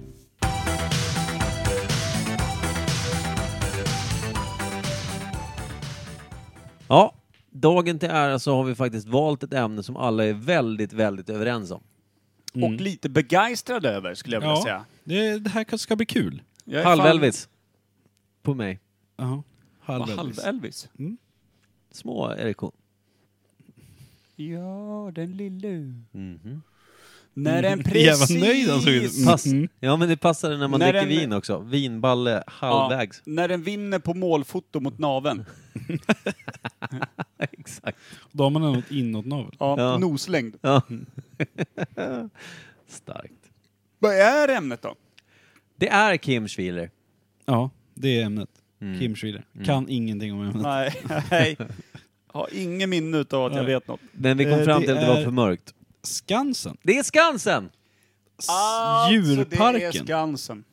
ja. Dagen till ära så har vi faktiskt valt ett ämne som alla är väldigt, väldigt överens om. Och lite begeistrad över skulle jag vilja Mm. Ja, säga. det, det här kanske ska bli kul. Jag är fan- Halv-Elvis. På mig. Ja. Vad, Halv-Elvis. Halv-Elvis? Små erektion. Ja, den lille. Mhm. När den Mm. Jävla precis... nöjd han såg ut. Mm. Pass. Ja, men det passade när man När dricker den- vin också. Vinballe Ja, halvvägs. när den vinner på målfoto mot naven. exakt. Då har man ändå ett inåtnavel. Ja, Ja. Noslängd. Ja. Starkt. Vad är ämnet då? Det är Kim Schwiler. Ja, det är ämnet. Kim Schreeder. Kan ingenting om ämnet. Nej, nej. Har ingen minne utav att jag Nej. vet något. Men vi kom Eh, fram det till att det var är- för mörkt. Skansen? Det är Skansen! S- Alltså, det är djurparken? Skansen.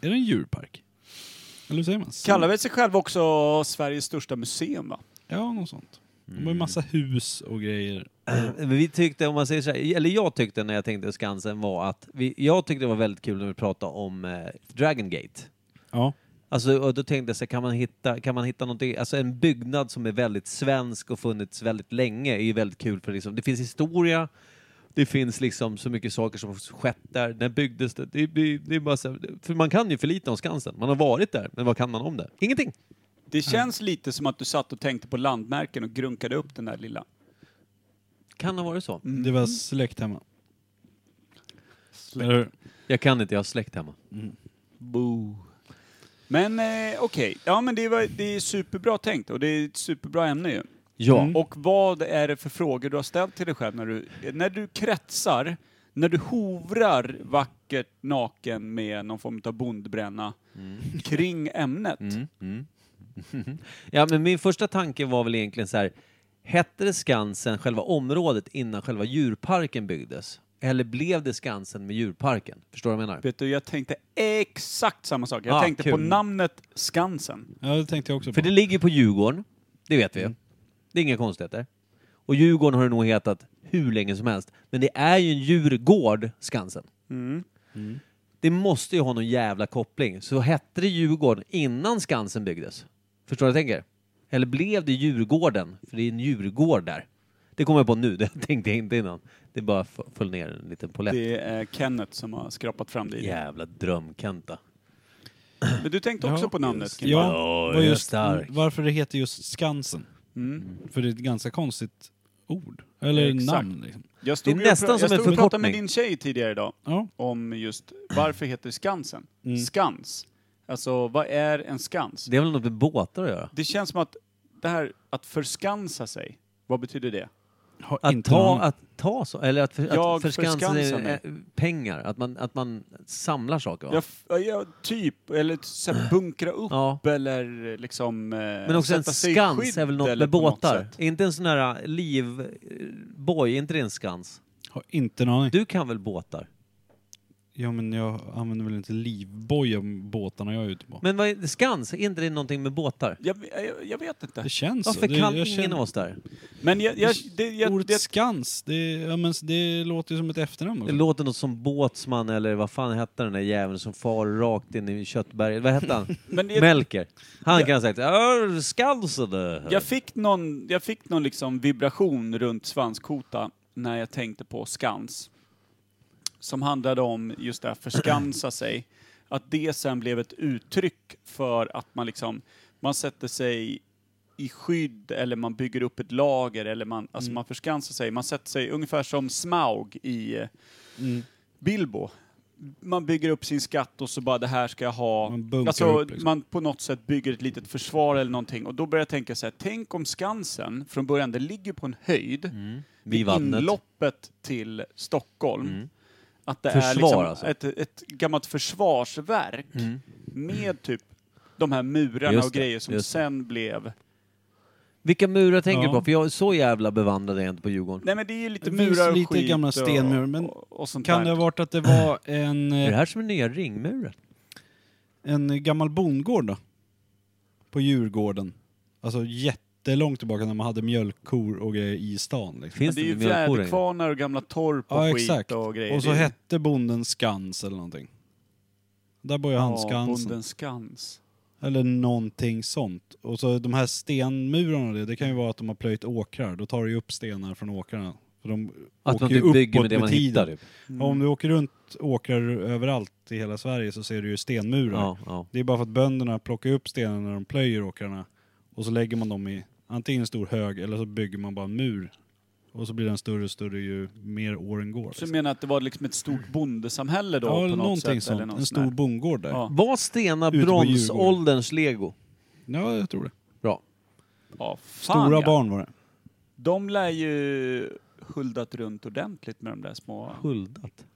är det en djurpark? Eller hur säger man? Kallar väl sig själv också Sveriges största museum va? Ja, något sånt. De har ju massa hus och grejer. Men Vi tyckte, om man säger så här, eller jag tyckte när jag tänkte Skansen var att, vi, jag tyckte det var väldigt kul när vi pratade om eh, Dragon Gate. Ja. Alltså, och då tänkte jag så här, kan man hitta, kan man hitta någonting, alltså en byggnad som är väldigt svensk och funnits väldigt länge är ju väldigt kul för liksom, det finns historia, det finns liksom så mycket saker som skett där, när byggdes det? Det, det, det är bara så här, för man kan ju för lite om Skansen, man har varit där, men vad kan man om det? Ingenting! Det känns lite som att du satt och tänkte på landmärken och grunkade upp den där lilla. Kan ha varit så. Det var släkt hemma. Eller hur? Jag kan inte, jag har släkt hemma. Boo. Men eh, okej, ja men det, var, det är superbra tänkt och det är ett superbra ämne ju. Ja. Mm. Och vad är det för frågor du har ställt till dig själv när du, när du kretsar, när du hovrar vackert naken med någon form av bondbränna Mm. kring ämnet? Ja, men min första tanke var väl egentligen så här. Hette det Skansen, själva området, innan själva djurparken byggdes? Eller blev det Skansen med djurparken? Förstår du vad jag menar? Vet du, jag tänkte exakt samma sak. Jag Ah, tänkte på kul. namnet Skansen. Ja, det tänkte jag också på. För det ligger på Djurgården, det vet Mm. vi. Det är inga konstigheter. Och Djurgården har det nog hetat hur länge som helst. Men det är ju en djurgård, Skansen. Mm. Det måste ju ha någon jävla koppling. Så hette det Djurgården innan Skansen byggdes? Förstår du vad jag tänker? Eller blev det Djurgården? För det är en djurgård där. Det kommer jag på nu, det tänkte jag inte innan. Det bara f- föll ner en liten polett. Det är Kenneth som har skrapat fram det. Jävla drömkanta. Men du tänkte också på namnet? Kim? Ja, Ja, var jag är just, stark. varför det heter just Skansen. För det är ett ganska konstigt ord. Eller Exakt. namn liksom. Jag stod Det är ju och nästan pra- som en Jag stod och pratade förkortning. med din tjej tidigare idag Ja. om just varför heter Skansen? Mm. Skans. Alltså, vad är en skans? Det har väl något med båtar att göra? Det känns som att det här att förskansa sig, vad betyder det? Har Att inte ta, någon- att ta så, eller att, för, Jag att förskansa sig, förskansar mig. eh, pengar, att man, att man samlar saker. Va? Jag, f- jag, typ, eller så här, bunkra upp Ja. eller liksom... eh, Men också en sätta sig i skans skydd är väl något eller med på något båtar? sätt. Är inte en sån här eh, livboj, inte det en skans? Har inte en aning. Du kan väl båtar? Ja, men jag använder väl inte livboj om båtarna jag är ute på. Men vad är, skans, är inte det någonting med båtar? Jag, jag, jag vet inte. det känns så. Varför Det- kan jag ingen känner- av oss där? Men jag, jag, det, jag, Ordet det, skans, det, ja, men det låter ju som ett efternamn. Det också. låter något som båtsman eller vad fan hette den där jäveln som far rakt in i köttberget? Vad hette han? Men jag- Melker. Han kan ha sagt "Åh, Skansen! eh." jag fick någon, jag fick någon liksom vibration runt svanskota när jag tänkte på skans. Som handlade om just det här förskansa sig. Att det sen blev ett uttryck för att man liksom, man sätter sig i skydd eller man bygger upp ett lager eller man, alltså man förskansar sig. Man sätter sig ungefär som Smaug i eh, Mm. Bilbo. Man bygger upp sin skatt och så bara det här ska jag ha. Man bunkrar alltså, upp liksom. man på något sätt bygger ett litet försvar eller någonting. Och då börjar jag tänka så här, tänk om Skansen från början, det ligger på en höjd. Mm. Vid vattnet. Mm. Inloppet till Stockholm. Att det är Försvar, liksom alltså. Mm. ett, ett gammalt försvarsverk med typ de här murarna Just och det, grejer som just det. sen blev... Vilka murar tänker Ja. du på? För jag är så jävla bevandrad är jag inte på Djurgården. Nej men det är ju lite Det finns murar och lite skit gamla och- stenmurar, men och, och sånt Kan det där. ha varit att det var en, Är det eh, här som är nya ringmuren? en gammal bondgård då? På Djurgården. Alltså jättelångt tillbaka när man hade mjölkkor och grejer i stan. Liksom. Finns det är det, ju mjölkkor längre? fjäderkvarnar och gamla torp och Ja skit exakt. och grejer. Och så Det är- hette bonden Skans eller någonting. Där bor ju han Ja, Skansen. bonden Skans. Eller någonting sånt. Och så de här stenmurarna, och det, det kan ju vara att de har plöjt åkrar. Då tar du ju upp stenar från åkrarna. För de Att åker man ju typ bygger uppåt med det man tiden. hittar typ. Ja, Om du åker runt åkrar överallt i hela Sverige så ser du ju stenmurar. Ja, ja. Det är bara för att bönderna plockar upp stenarna när de plöjer åkrarna och så lägger man dem i antingen en stor hög eller så bygger man bara en mur. Och så blir den större och större ju mer åren går. Så du liksom. menar att det var liksom ett stort bondesamhälle då? Ja, på eller något någonting sätt, sånt. Eller något en sånt stor där? bondgård där. Ja. Ja. Var Stena Ute på Djurgården. bronsålderns lego? jag tror det. Bra. Ja, fan Stora ja. barn var det. De lär ju huldat runt ordentligt med de där små. Huldat.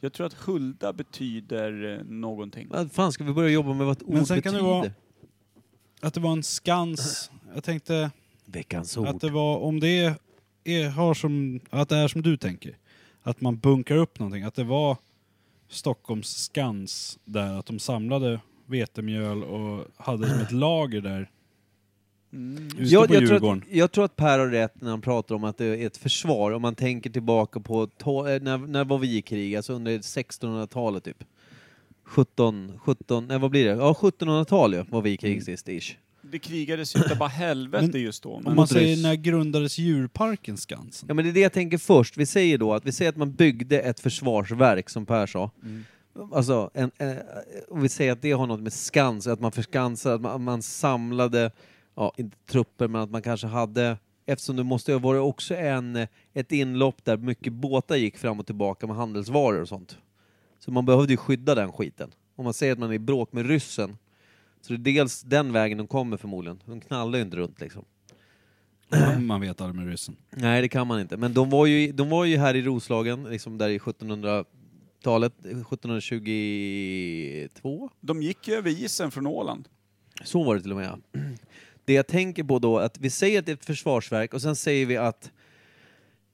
Jag tror att hulda betyder eh, någonting. Vad fan, ska vi börja jobba med vad ett ord sen betyder? kan det vara- Att det var en skans. Jag tänkte Veckans att ord. det var, om det är, är, har som, att det är som du tänker. Att man bunkar upp någonting. Att det var Stockholms skans där. Att de samlade vetemjöl och hade som ett lager där. Mm. Ute Ja, på jag, tror Djurgården. att, jag tror att Per har rätt när han pratar om att det är ett försvar. Om man tänker tillbaka på to- eh, när, när var vi i krig? Alltså under 1600-talet typ. 17, 17, nej vad blir det? Ja, 1700-tal ju, var vi i krig Mm. sist ish. Det krigades ju inte bara helvete Men- just då. Om Men alltså, man mot säger ryss. när grundades djurparken Skansen? Ja men det är det jag tänker först. Vi säger då att vi säger att man byggde ett försvarsverk som Per sa. Alltså, en, eh, och vi säger att det har något med skans, att man förskansade, att man, man samlade, ja inte trupper men att man kanske hade, eftersom det måste ju ha varit också en, eh, ett inlopp där mycket båtar gick fram och tillbaka med handelsvaror och sånt. Så man behövde ju skydda den skiten. Om man säger att man är i bråk med ryssen, så det är dels den vägen de kommer förmodligen. De knallar ju inte runt liksom. man vet aldrig med ryssen. Nej, det kan man inte. Men de var ju, de var ju här i Roslagen, liksom där i 1700-talet, 1722. de gick ju över isen från Åland. Så var det till och med. ja. Det jag tänker på då, att vi säger att det är ett försvarsverk och sen säger vi att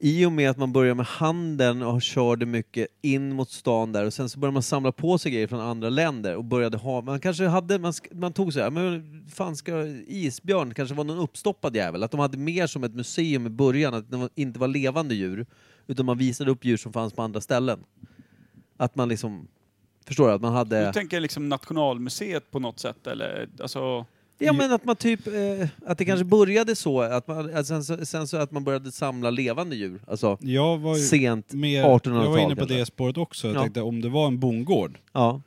i och med att man börjar med handeln och körde mycket in mot stan där och sen så började man samla på sig grejer från andra länder och började ha, man kanske hade, man, sk- man tog så här, men fan ska isbjörn kanske var någon uppstoppad jävel, att de hade mer som ett museum i början, att de inte var levande djur, utan man visade upp djur som fanns på andra ställen. Att man liksom, förstår du, att man hade... Du tänker liksom Nationalmuseet på något sätt eller? Alltså, Ja men att man typ, eh, att det kanske började så, att man, att sen, så, sen så att man började samla levande djur. Alltså Jag var ju sent mer, 1800-tal Jag var inne på kanske. det spåret också. Jag Ja. tänkte om det var en bondgård. Ja.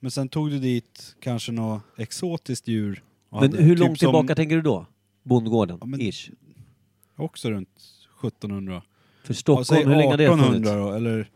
Men sen tog du dit kanske något exotiskt djur. och Men hade- hur långt typ som tillbaka tänker du då? Bondgården, Ja, men- ish. Också runt 1700. För Ja, säg Stockholm, hur länge har det funnits? 1800 då, eller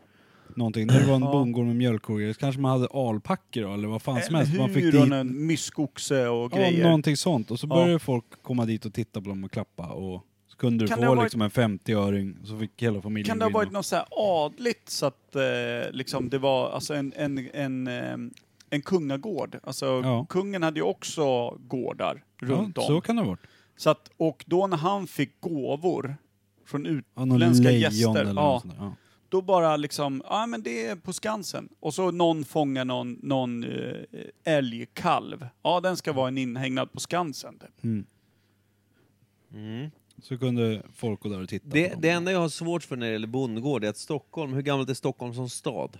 någonting. När det var en bondgård med mjölkkogar. Kanske man hade alpackor då, eller vad fan som helst. Man fick dit eh, en myskoxe och ja, grejer. någonting sånt. Och så Ja. började folk komma dit och titta på dem och klappa. Och så kunde du Kan det få ha varit- liksom en 50-öring. Så fick hela familjen Kan det gå ha in varit och- något så här adligt så att eh, liksom det var alltså en, en, en, ehm, en kungagård? Alltså Ja. kungen hade ju också gårdar runt ja, om. Så kan det ha varit. Så att, och då när han fick gåvor från Ja, någon utländska lejon gäster, eller ja, något sånt där. Ja. då bara liksom, ja men det är på Skansen. Och så någon fångar någon, någon eh, älgkalv. Ja, den ska vara en inhägnad på Skansen. Typ. Så kunde folk gå där och titta på Det, dem. det enda jag har svårt för när det gäller bondgård är att Stockholm, hur gammalt är Stockholm som stad?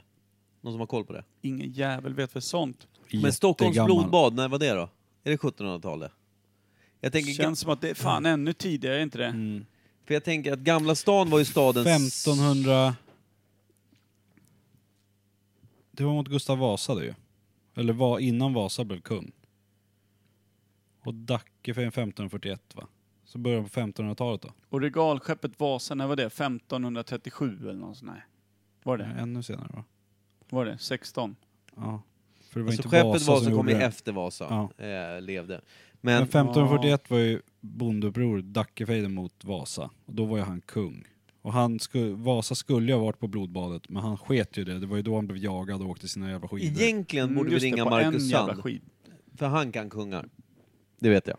Någon som har koll på det? Ingen jävel vet väl sånt. Men Stockholms Jättegammal. blodbad, när var det då? Är det 1700-talet? Jag tänker, Känns som att det är fan ännu tidigare, är inte det? för jag tänker att Gamla stan var ju stadens... 1500... Det var mot Gustav Vasa det ju. Eller var innan Vasa blev kung. Och Dacke för 1541 va? Så början på 1500-talet då? Och regalskeppet Vasa, när var det? 1537 eller något sånt? Nej. Var det? Ännu senare va? Var det? 16? Ja. För det var Alltså inte skeppet Vasa, Vasa som kom gjorde ju det. efter Vasa eh, levde. Men, Men 1541 var ju bondeupproret, Dackefejden mot Vasa. Och då var ju han kung. Och han sku, Vasa skulle ju ha varit på blodbadet, men han sket ju det. Det var ju då han blev jagad och åkte sina jävla skidor. egentligen borde vi Mm, Just det, ringa på en Marcus jävla Sand. skid. För han kan kungar. Det vet jag.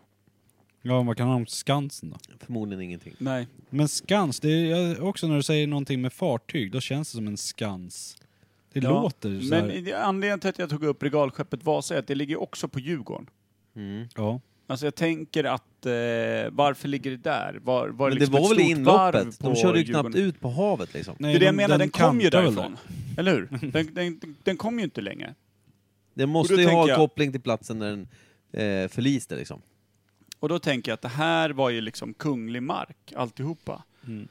Ja, vad kan han om Skansen då? Förmodligen ingenting. Nej. Men skans, det är jag- också när du säger någonting med fartyg, då känns det som en skans. Det Ja, låter så Men här. i- anledningen till att jag tog upp regalskeppet Vasa är att det ligger också på Djurgården. Mm. Ja. Alltså jag tänker att eh, varför ligger det där? Var, var Men det liksom ett var väl i stort varv inloppet? på De körde ju knappt Djurgården? ut på havet liksom. Nej, Det är det jag de- menar, den, kom ju kantar väl därifrån. Eller hur? Den, den, den kom ju inte längre. Det måste Och då ju ha tänker jag- koppling till platsen där den eh, förliste liksom. Och då tänker jag att det här var ju liksom kunglig mark, alltihopa. Kan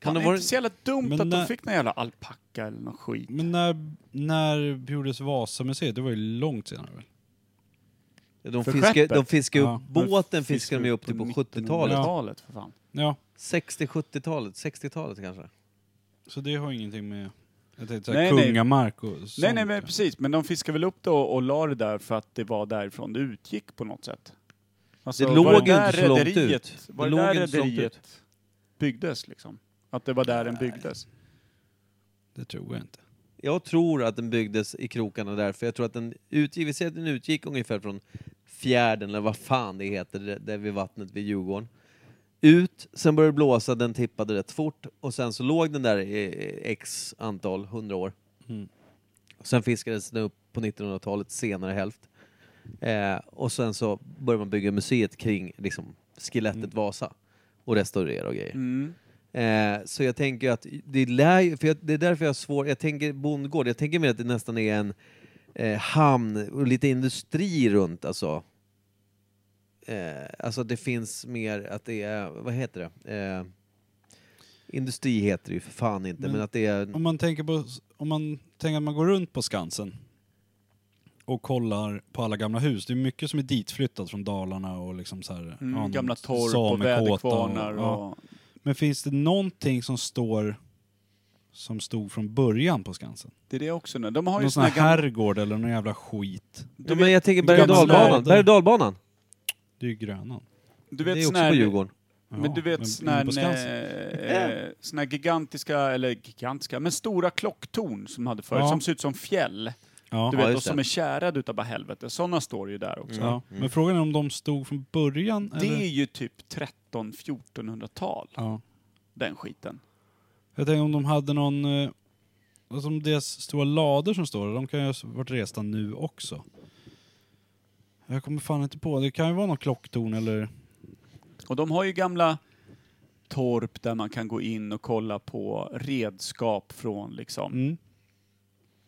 Kan det ha det är varit- inte så jävla dumt Men att när- de fick någon jävla alpacka eller någon skit. Men när, när gjordes Vasamuseet? Det var ju långt senare väl? De För fiskade skeppet? de fiskar upp Ja, men båten fiskar fiskade de ju upp till på 70-talet. 1900-talet för fan. Ja, 60-70-talet, 60-talet kanske. så det har ingenting med jag tänkte såhär, Nej, nej. kungamark och sånt. nej, nej, men precis. Men de fiskade väl upp det och, och la det där för att det var därifrån det utgick på något sätt. Alltså, Det låg var ju inte där så långt rederiet- ut. Var Det det, låg där inte så långt rederiet byggdes liksom? Att det var där den byggdes? Det tror jag inte. Jag tror att den byggdes i krokarna där, för jag tror att den utgick, vi säger att den utgick ungefär från fjärden, eller vad fan det heter, det- där vid vattnet vid Djurgården. Ut, sen började det blåsa, den tippade rätt fort och sen så låg den där i eh, x antal, hundra år. Mm. Och sen fiskades den upp på 1900-talets senare hälft. Eh, och sen så började man bygga museet kring liksom, skelettet Vasa och restaurera och grejer. Mm. Eh, så jag tänker att det lär ju, för jag, det är därför jag har svårt, jag tänker bondgård, jag tänker mer att det nästan är en eh, hamn och lite industri runt alltså. Eh, alltså att det finns mer att det är, vad heter det? Eh, industri heter det ju för fan inte, men, Mm. Men- att det är, Om man tänker på, om man tänker att man går runt på Skansen och kollar på alla gamla hus. Det är mycket som är ditflyttat från Dalarna och liksom så här, Mm. ja, Gamla torp och samekåta väderkvarnar och... ja. Men finns det någonting som står som stod från början på Skansen? Det är det också nu. De har ju Någon sån såna här gamla... herrgård eller någon jävla skit. ja, men jag tänker du berg och vet- dalbanan, städer. berg och dalbanan, Det är ju Grönan. Du det vet är sån också på här... Djurgården. Ja, Men du vet sån inne på här, Skansen. eh, sån här gigantiska, eller gigantiska, men stora klocktorn som hade förut, Ja. som ser ut som fjäll. Ja. Ja, Du vet, och just det. som är tjärade utav bara helvete. Sådana står ju där också. Ja. Men frågan är om de stod från början Det är eller? ju typ 13-1400-tal, Ja. den skiten. Jag tänker om de hade någon... eh, Alltså om deras stora lador som står där, de kan ju ha varit resta nu också. Jag kommer fan inte på, det kan ju vara någon klocktorn eller... Och de har ju gamla torp där man kan gå in och kolla på redskap från liksom Mm.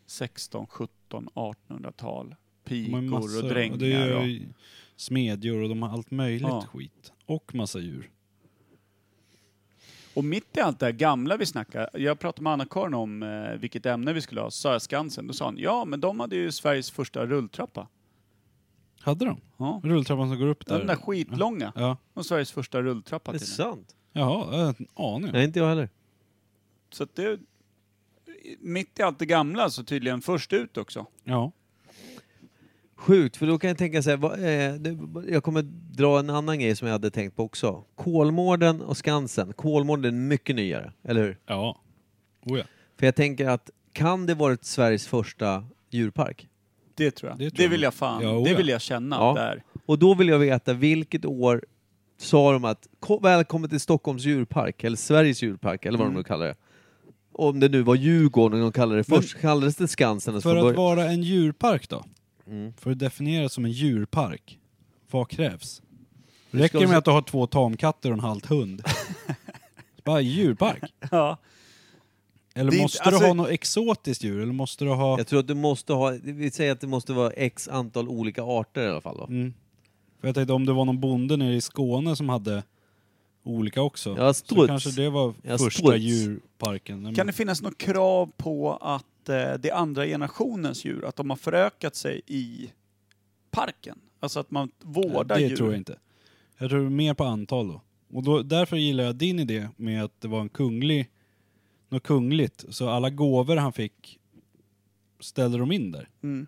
16, 17, 1800-tal. De har ju Pikor massor- och och Det drängar. är Och, ju smedjor och de har allt möjligt Ja. skit. Och massa djur. och mitt i allt det här gamla vi snackar, jag pratade med Anna-Karin om eh, vilket ämne vi skulle ha, sa jag Skansen, då sa hon ja men de hade ju Sveriges första rulltrappa. Hade de? Ja. Rulltrappan som går upp där? Den där skitlånga. Ja. Och Sveriges första rulltrappa Det är till nu. sant. Jaha, jag har inte en aning. Nej, inte jag heller. Så att det, mitt i allt det gamla så tydligen först ut också. Ja. Sjukt, för då kan jag tänka så här, vad, eh, det- jag kommer dra en annan grej som jag hade tänkt på också. Kolmården och Skansen. Kolmården är mycket nyare, eller hur? Ja. Oh ja. För jag tänker att kan det varit Sveriges första djurpark? Det tror jag. Det Det, tror jag. vill jag fan, Ja, oja. det vill jag känna Ja. där. Och då vill jag veta vilket år sa de att "Ko- välkommen till Stockholms djurpark, eller Sveriges djurpark, eller vad Mm. de nu kallar det. Om det nu var Djurgården de kallade det först, kallades det Skansen? eller så För från att början? vara en djurpark då? För att definieras som en djurpark, vad krävs? Räcker det med att du har två tamkatter och en halt hund? Bara djurpark? Ja. Eller Det är måste inte- du alltså- ha något exotiskt djur? Eller måste du ha... Jag tror att du måste ha, vi säger att det måste vara x antal olika arter i alla fall då. För jag tänkte om det var någon bonde nere i Skåne som hade olika också. Ja, så struts. kanske det var Ja, första struts. djurparken. Nej, Kan det men- finnas något krav på att eh, det är andra generationens djur, att de har förökat sig i parken? Alltså att man vårdar det djur? tror jag inte. Jag tror mer på antal då. Och då, därför gillar jag din idé med att det var en kunglig, något kungligt. Så alla gåvor han fick ställde de in där. Mm.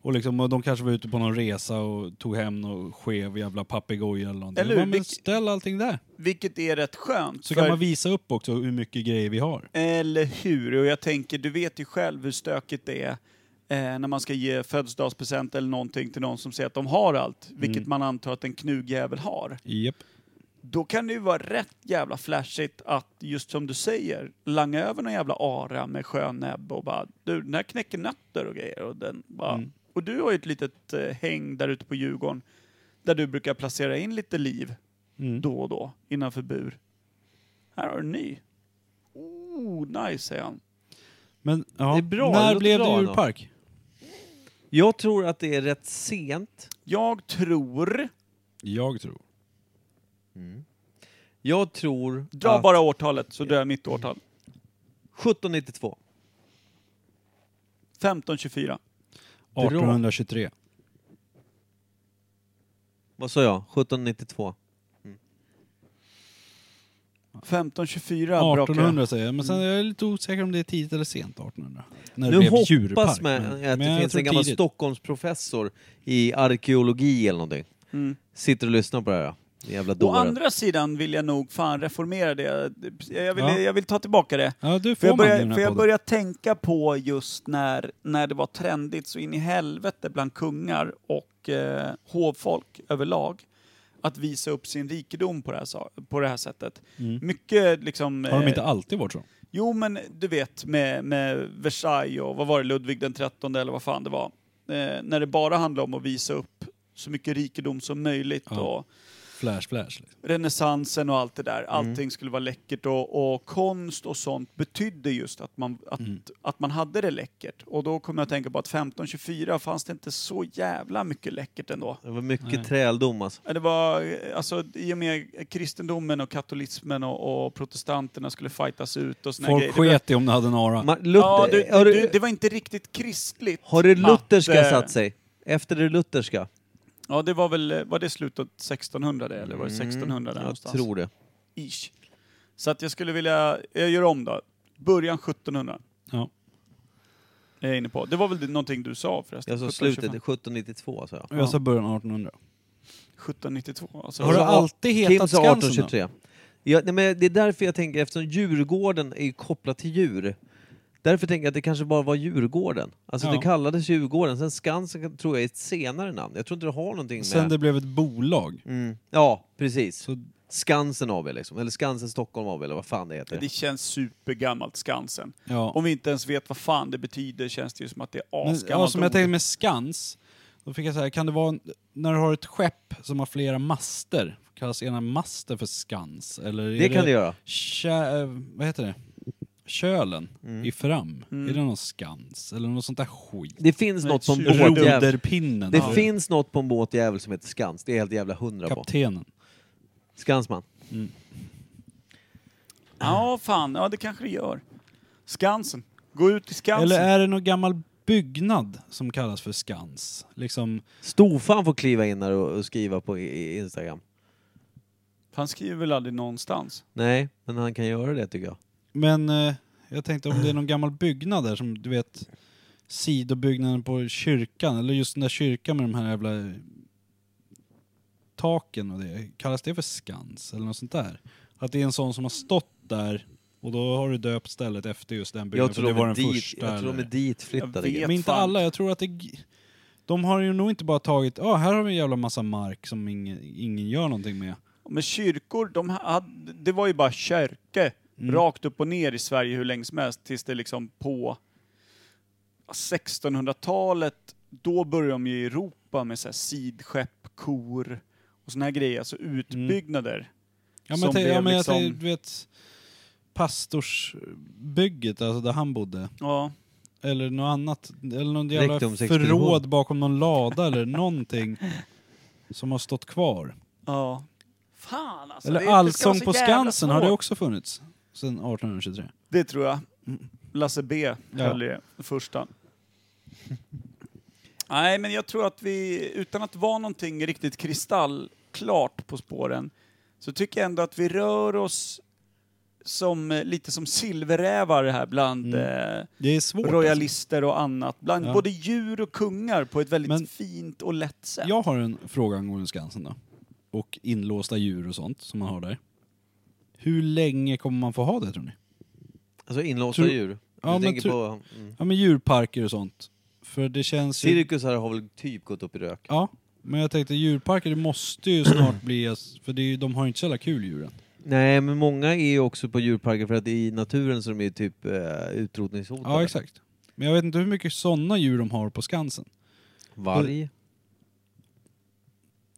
Och, liksom, och de kanske var ute på någon resa och tog hem någon skev jävla papegoja eller någonting. Eller Eller hur? man vill Vilk- ställa allting där. Vilket är rätt skönt. Så för- kan man visa upp också hur mycket grejer vi har. Eller hur? Och jag tänker, du vet ju själv hur stökigt det är eh, när man ska ge födelsedagspresent eller någonting till någon som säger att de har allt, vilket Mm. man antar att en knugjävel har. Japp. Då kan det ju vara rätt jävla flashigt att, just som du säger, langa över någon jävla ara med skön näbb och bara du, den här knäcker nötter och grejer. Och, den bara, Mm. och du har ju ett litet eh, häng där ute på Djurgården där du brukar placera in lite liv Mm. då och då innanför bur. Här har du en ny. Oh, nice säger han. Men ja, Det är bra, det när låter blev det bra ändå. djurpark? Jag tror att det är rätt sent. Jag tror... Jag tror. Jag tror Dra att bara årtalet så drar jag mitt årtal. 1792. 1524. Dra. 1823. Vad sa jag? 1792. 1524 brakar 1800 säger jag, men sen är jag lite osäker om det är tidigt eller sent 1800. När Nu hoppas djurpark, man men- att men jag det finns tror en gammal tidigt. Stockholmsprofessor i arkeologi eller någonting. sitter och lyssnar på det här. Jävla Å dåren. Mm. andra sidan vill jag nog fan reformera det. Jag vill, Ja. jag vill ta tillbaka det. Ja, du För får jag, man i börjar, den för här jag podden. börjar tänka på just när, när det var trendigt så in i helvete bland kungar och eh, hovfolk överlag att visa upp sin rikedom på det här, sa- på det här sättet. Mycket liksom... Mm. Har de eh, inte alltid varit så? Jo, men du vet med, med Versailles och vad var det, Ludvig den trettonde eller vad fan det var. Eh, när det bara handlade om att visa upp så mycket rikedom som möjligt Ja. och Flash, flash. Liksom. renässansen och allt det Mm. där. Allting skulle vara läckert och, och konst och sånt betydde just att man, att, Mm. att man hade det läckert. Och då kommer jag att tänka på att 1524 fanns det inte så jävla mycket läckert ändå. Det var mycket träldom alltså. Det var, eh, alltså, I och med kristendomen och katolismen och, och protestanterna skulle fightas ut och såna Folk grejer. Det var- sket i om det hade en ara. Ma- Luther, Ja, du, har, du, du, det var inte riktigt kristligt. har det lutherska att, eh, satt sig? Efter det lutherska? Ja, det var väl, var det slutet 1600 det, eller var det 1600 där Mm, Jag någonstans? tror det. Alltså, Ish. Så att jag skulle vilja, jag gör om då. Början 1700 Ja. är jag inne på. Det var väl det- någonting du sa förresten? Jag sa 1725. slutet alltså, 1792 sa jag. Jag sa början av 1800. 1792. Alltså, Har du Jag sa- alltid hetat Kim sa Skansen då? 1823. Ja, nej, men det är därför jag tänker, eftersom Djurgården är ju kopplat till djur. Därför tänker jag att det kanske bara var Djurgården. Alltså Ja. det kallades Djurgården. Sen Skansen tror jag är ett senare namn. Jag tror inte det har någonting med... Sen det blev ett bolag. Mm. Ja, precis. Så- Skansen AB liksom. Eller Skansen Stockholm AB eller vad fan det heter. det känns supergammalt, Skansen. Ja. Om vi inte ens vet vad fan det betyder känns det ju som att det är Men, asgammalt. ja, som jag ord. tänkte med skans, då fick jag så här, kan det vara en, när du har ett skepp som har flera master, kallas ena master för skans? Eller Det kan det göra. Kä, eh, vad heter det? Kölen Mm. i fram, är det någon skans? Eller något sånt där skit? Det finns något på en Roder- båtjävel. Roderpinnen. Det Ja. finns något på en båtjävel som heter Skans. Det är jag helt jävla hundra på. Kaptenen. Skansman. Ja, fan. Ja, det kanske det gör. Skansen. Gå ut i Skansen. Eller är det någon gammal byggnad som kallas för skans? Liksom, Stofan får kliva in här och och skriva på i- i Instagram. Han skriver väl aldrig någonstans? Nej, men han kan göra det tycker jag. men eh, jag tänkte om det är någon gammal byggnad där som du vet sidobyggnaden på kyrkan, eller just den där kyrkan med de här jävla taken och det, kallas det för skans eller något sånt där? Att det är en sån som har stått där och då har du döpt stället efter just den byggnaden Jag för tror, det de var är den dit, första. jag tror de är eller- Jag ditflyttade. vet. grejer. Men inte fan. alla, jag tror att det... De har ju nog inte bara tagit, ja här har vi en jävla massa mark som ingen, ingen gör någonting med. Men kyrkor, de hade, det var ju bara kyrke Mm. rakt upp och ner i Sverige hur länge som helst tills det liksom på 1600-talet, då började de ju i Europa med så här sidskepp, kor och såna här grejer, alltså utbyggnader. Mm. Ja men, Som jag tänker- ja, blev men liksom- jag tänker, du vet pastorsbygget, alltså där han bodde. Ja. Eller något annat, eller någon jävla Rektum 67. förråd bakom någon lada eller någonting som har stått kvar. ja. Fan alltså. det- det eller ska vara Allsång så på jävla Skansen, har det svårt. också funnits? Sedan 1823. Det tror jag. Lasse B Mm. Ja. höll i det första. Nej, men jag tror att vi, utan att vara någonting riktigt kristallklart på spåren, så tycker jag ändå att vi rör oss som, eh, lite som silverrävar här bland eh, Det är svårt. royalister och annat. Bland Mm. Ja. både djur och kungar på ett väldigt Men- fint och lätt sätt. Alltså. Jag har en fråga angående Skansen då. Och inlåsta djur och sånt som man har där. Hur länge kommer man få ha det tror ni? Alltså inlåsta Tror- djur. Ja, du men tänker tror- på... Mm. Ja men djurparker och sånt. För det känns ju... Cirkusar har väl typ gått upp i rök. Ja, men jag tänkte djurparker, det måste ju snart bli... För det är, ju- de har ju inte så jävla kul djuren. Nej, men många är ju också på djurparker för att i naturen så de är typ eh, utrotningshotade. Ja exakt. Men jag vet inte hur mycket sådana djur de har på Skansen. Varg.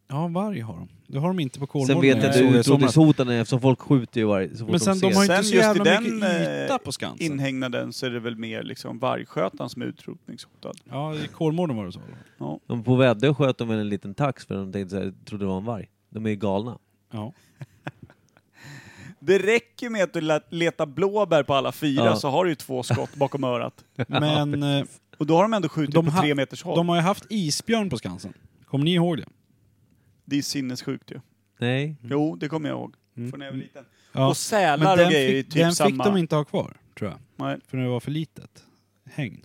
Ja, varg har de. Det har de inte på Kolmården. Sen vet jag Jag att det såg är det i somras. utrotningshotande eftersom folk skjuter ju varg så fort Men sen de ser. de har ju det. inte Sen så just i jävla den, mycket yta eh, på Skansen. Inhägnaden så är det väl mer liksom vargskötaren som är utrotningshotad. Ja, i Kolmården var det så. Ja. De på Väddö sköt de väl en liten tax för de tänkte så här, trodde det var en varg. De är ju galna. Ja. Det räcker med att du let- letar blåbär på alla fyra Ja. så har du ju två skott bakom örat. Men eh, Och då har de ändå skjutit De på ha- tre meters håll. de har ju haft isbjörn på Skansen. Kommer ni ihåg det? Det är sinnessjukt ju. Nej. Jo, det kommer jag ihåg. Från när jag var liten. Mm. Ja. Och sälar och den grejer är fick, typ den samma. fick de inte ha kvar, tror jag. Nej. För det var för litet hägn.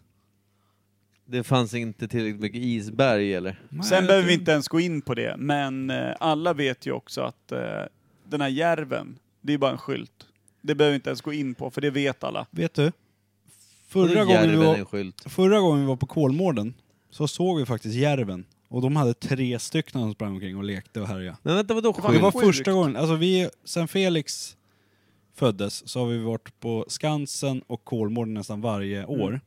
Det fanns inte tillräckligt mycket isberg eller? Sen behöver vi inte ens gå in på det, men eh, alla vet ju också att eh, den här järven, det är bara en skylt. Det behöver vi inte ens gå in på, för det vet alla. Vet du? Förra gången, vi Järven är en var, skylt. förra gången vi var på Kolmården så såg vi faktiskt järven. Och de hade tre stycken som sprang omkring och lekte och härjade. Men vänta vadå var- Det skylt? var Sjukt. första gången, alltså vi, sen Felix föddes så har vi varit på Skansen och Kolmården nästan varje år.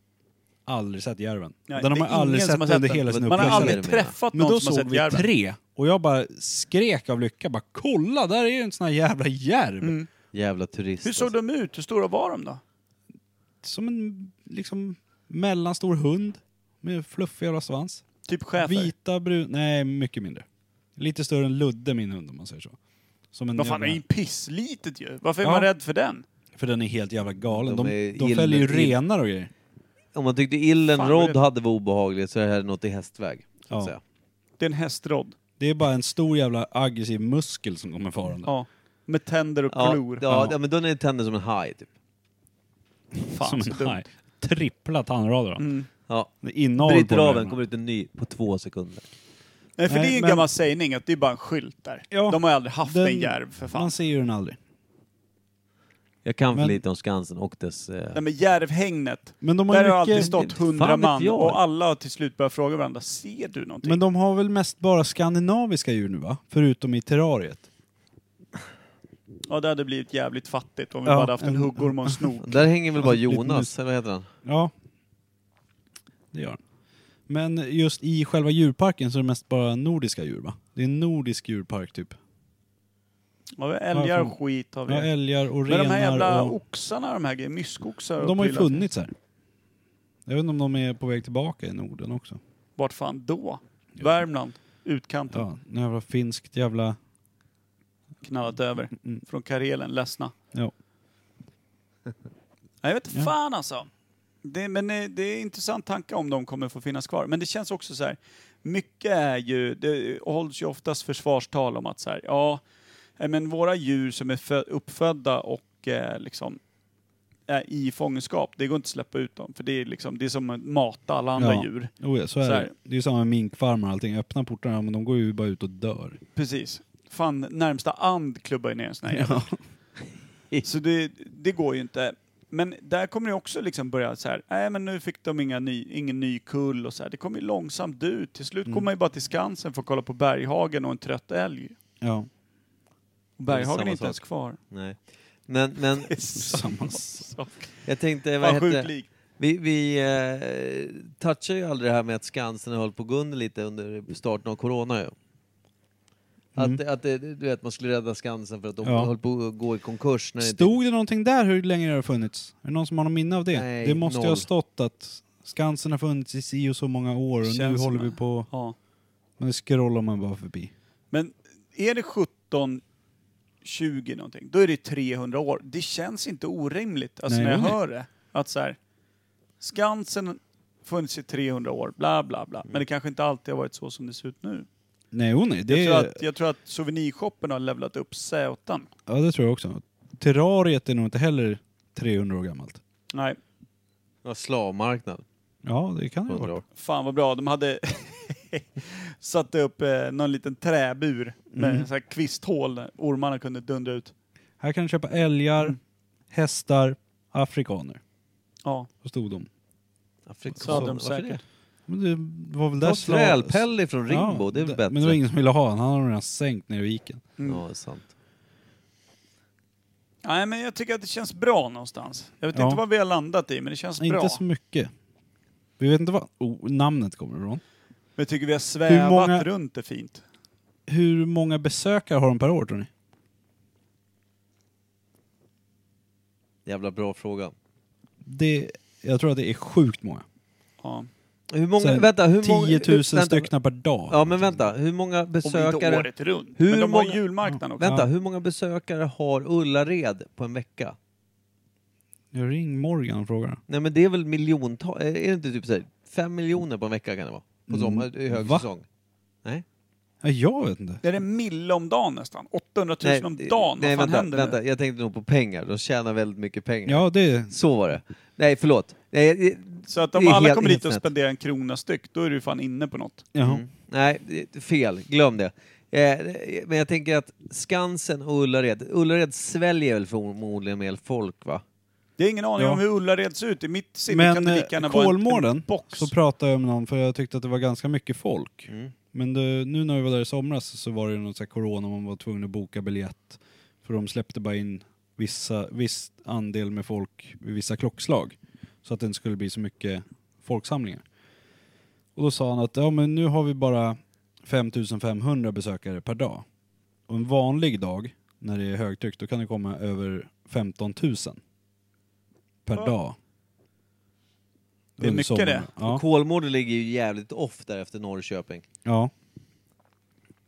Aldrig sett järven. Mm. Nej, den har det man är ingen aldrig som sett har under sett den. hela sin Man Man har Upplevelser det aldrig menar. träffat Men då någon som har såg sett vi järven. tre och jag bara skrek av lycka bara kolla där är en sån här jävla järv. Mm. Jävla turist. Hur såg alltså. de ut? Hur stora var de då? Som en liksom mellanstor hund med fluffig jävla svans. Typ schäfer? Vita, brun, nej mycket mindre. Lite större än Ludde min hund om man säger så. Som en Vad fan, det är jävla, ju pisslitet ju. Varför är Ja. man rädd för den? för den är helt jävla galen. De De, är de, ill- fäller ju ill- renar och grejer. Om man tyckte illen Fan, Rod vad hade var obehagligt så är det här något i hästväg. Så att Ja. säga. Det är en hästrodd. Det är bara en stor jävla aggressiv muskel som kommer farande. Ja. Med tänder och Ja, klor. ja, ja, men då är det tänder som en haj typ. Fan, som så en dumt. Mm. haj. Trippla tandrader har han. Ja. Det är Inavel på Bryter den av här. en, kommer ut en ny på två sekunder. Nej, för Nej, det är en men- gammal sägning att det är bara en skylt där. Ja. De har ju aldrig haft en Den- järv för fan. Man ser ju den aldrig. Jag kan för Men- lite om Skansen och dess... Eh... Nej men järvhägnet, Men de där har, har mycket, alltid stått Fan hundra vet man jag. och alla har till slut börjat fråga varandra, ser du någonting? men de har väl mest bara skandinaviska djur nu va? Förutom i terrariet. Ja det hade blivit jävligt fattigt om vi Ja, bara hade haft en en- huggorm och en snok. Där hänger väl bara Alltså, Lite Jonas, eller vad heter han? Ja. Det gör den. Men just i själva djurparken så är det mest bara nordiska djur va? Det är en nordisk djurpark typ. Ja, vi har älgar Ja, och skit har vi. Ja, älgar och men renar de här jävla och... oxarna, de här grejerna, myskoxar och De har ju prylar. funnits här. Jag vet inte om de är på väg tillbaka i Norden också. Vart fan då? Värmland, utkanten, Ja, en jävla finskt jävla... knallat över. Mm. Från Karelen, ledsna. Ja. Nej, jag vet inte Ja. fan alltså. Det, men eh, det är intressant tanke om de kommer få finnas kvar. Men det känns också så här, mycket är ju, det hålls ju oftast försvarstal om att så här, ja, eh, men våra djur som är fö- uppfödda och eh, liksom är i fångenskap, det går inte att släppa ut dem. För det är liksom, det är som att mata alla andra Ja. djur. Oh ja, så är Så här. det. Det är ju samma med minkfarmar och allting. Öppna portarna men de går ju bara ut och dör. Precis. Fan, närmsta and klubbar ju ner en sån här jävel. Så det, det går ju inte. Men där kommer det också liksom börja så här, nej men nu fick de inga ny, ingen ny kull och så här. Det kommer ju långsamt ut. Till slut Mm. kommer man ju bara till Skansen för att kolla på Berghagen och en trött älg. Ja, Och Det är Berghagen samma är inte sak. ens kvar. Nej. Men, men samma sak. jag tänkte, vad Fan hette sjukt det? likt. Vi, vi eh, touchar ju aldrig det här med att Skansen höll på Gunde lite under starten av Corona ju. Att, att det, du vet, man skulle rädda Skansen för att de Mm. Ja. höll på att gå i konkurs. När det inte- Stod det någonting där hur länge det har funnits? Är det någon som har någon minne av det? Nej, det måste ju noll. ha stått att Skansen har funnits i si och så många år och nu Känns håller som vi det. på... Ja. Men det scrollar man bara förbi. Men är det 17, 20 någonting, då är det 300 år. Det känns inte orimligt, alltså Nej, när jag nej. hör det. Att så här, Skansen funnits i 300 år, bla bla bla. Men det kanske inte alltid har varit så som det ser ut nu. Nej, oh nej. Det, Jag tror är, att, jag tror att souvenirshoppen har levlat upp sätan. Ja, det tror jag också. Terrariet är nog inte heller 300 år gammalt. Nej, Ja, slavmarknad. Ja, det kan det Hundra vara. år. fan vad bra. De hade satt upp eh, någon liten träbur med Mm. så här kvisthål där ormarna kunde dundra ut. Här kan du köpa älgar, hästar, afrikaner. Ja, Så stod de. Afrikaner. så hade de Varför säkert. Men det var väl där det? Ta slav- Trälpelli från Rimbo, det är väl d- bättre? Men det var ingen som ville ha han han hade redan sänkt ner i viken. Mm. Ja, det är sant. Nej, men jag tycker att det känns bra någonstans. Jag vet Ja. inte vad vi har landat i, men det känns bra. Inte så mycket. Vi vet inte vad oh, namnet kommer ifrån. Men jag tycker vi har svävat Hur många- runt det fint. Hur många besökare har de per år tror ni? Jävla bra fråga. Det, jag tror att det är sjukt många. Ja. Hur många, Så här, vänta, hur många... 10 000 vänta. stycken per dag. Ja, men vänta, hur många Om inte besökare... året runt. Hur men de har många- julmarknaden också. Vänta, hur många besökare har Ullared på en vecka? Jag ring Morgan och frågar. Nej men det är väl miljontal, är det inte typ såhär, fem miljoner på en vecka kan det vara? Mm. På sommar, i högsäsong? Nej? Ja, jag vet inte. Det är en mille om dagen nästan. 800 000 Nej, om dagen. nej vad fan vänta, händer nu? vänta, jag tänkte nog på pengar, de tjänar väldigt mycket pengar. Ja, det är Så var det. Nej, förlåt. Nej, det- Så att det om är alla helt- kommer helt hit och snett. spenderar en krona styck, då är du fan inne på något. Jaha. Mm. Nej, det- fel. Glöm det. Eh, men jag tänker att Skansen och Ullared, Ullared sväljer väl förmodligen mer folk va? Det är ingen aning Ja. om hur Ullared ser ut. I mitt sinne kan Men det eh, lika gärna vara en, en Kolmården, box. så pratade jag med någon för jag tyckte att det var ganska mycket folk. Mm. Men det, nu när vi var där i somras så var det ju någon sån här corona man var tvungen att boka biljett. För de släppte bara in vissa, viss andel med folk vid vissa klockslag. Så att det inte skulle bli så mycket folksamlingar. Och då sa han att ja, men nu har vi bara 5500 besökare per dag. Och en vanlig dag när det är högtryck då kan det komma över 15 000 per dag. Det är Under mycket sommaren. det. Ja. Ja. Kolmården ligger ju jävligt off där efter Norrköping. ja.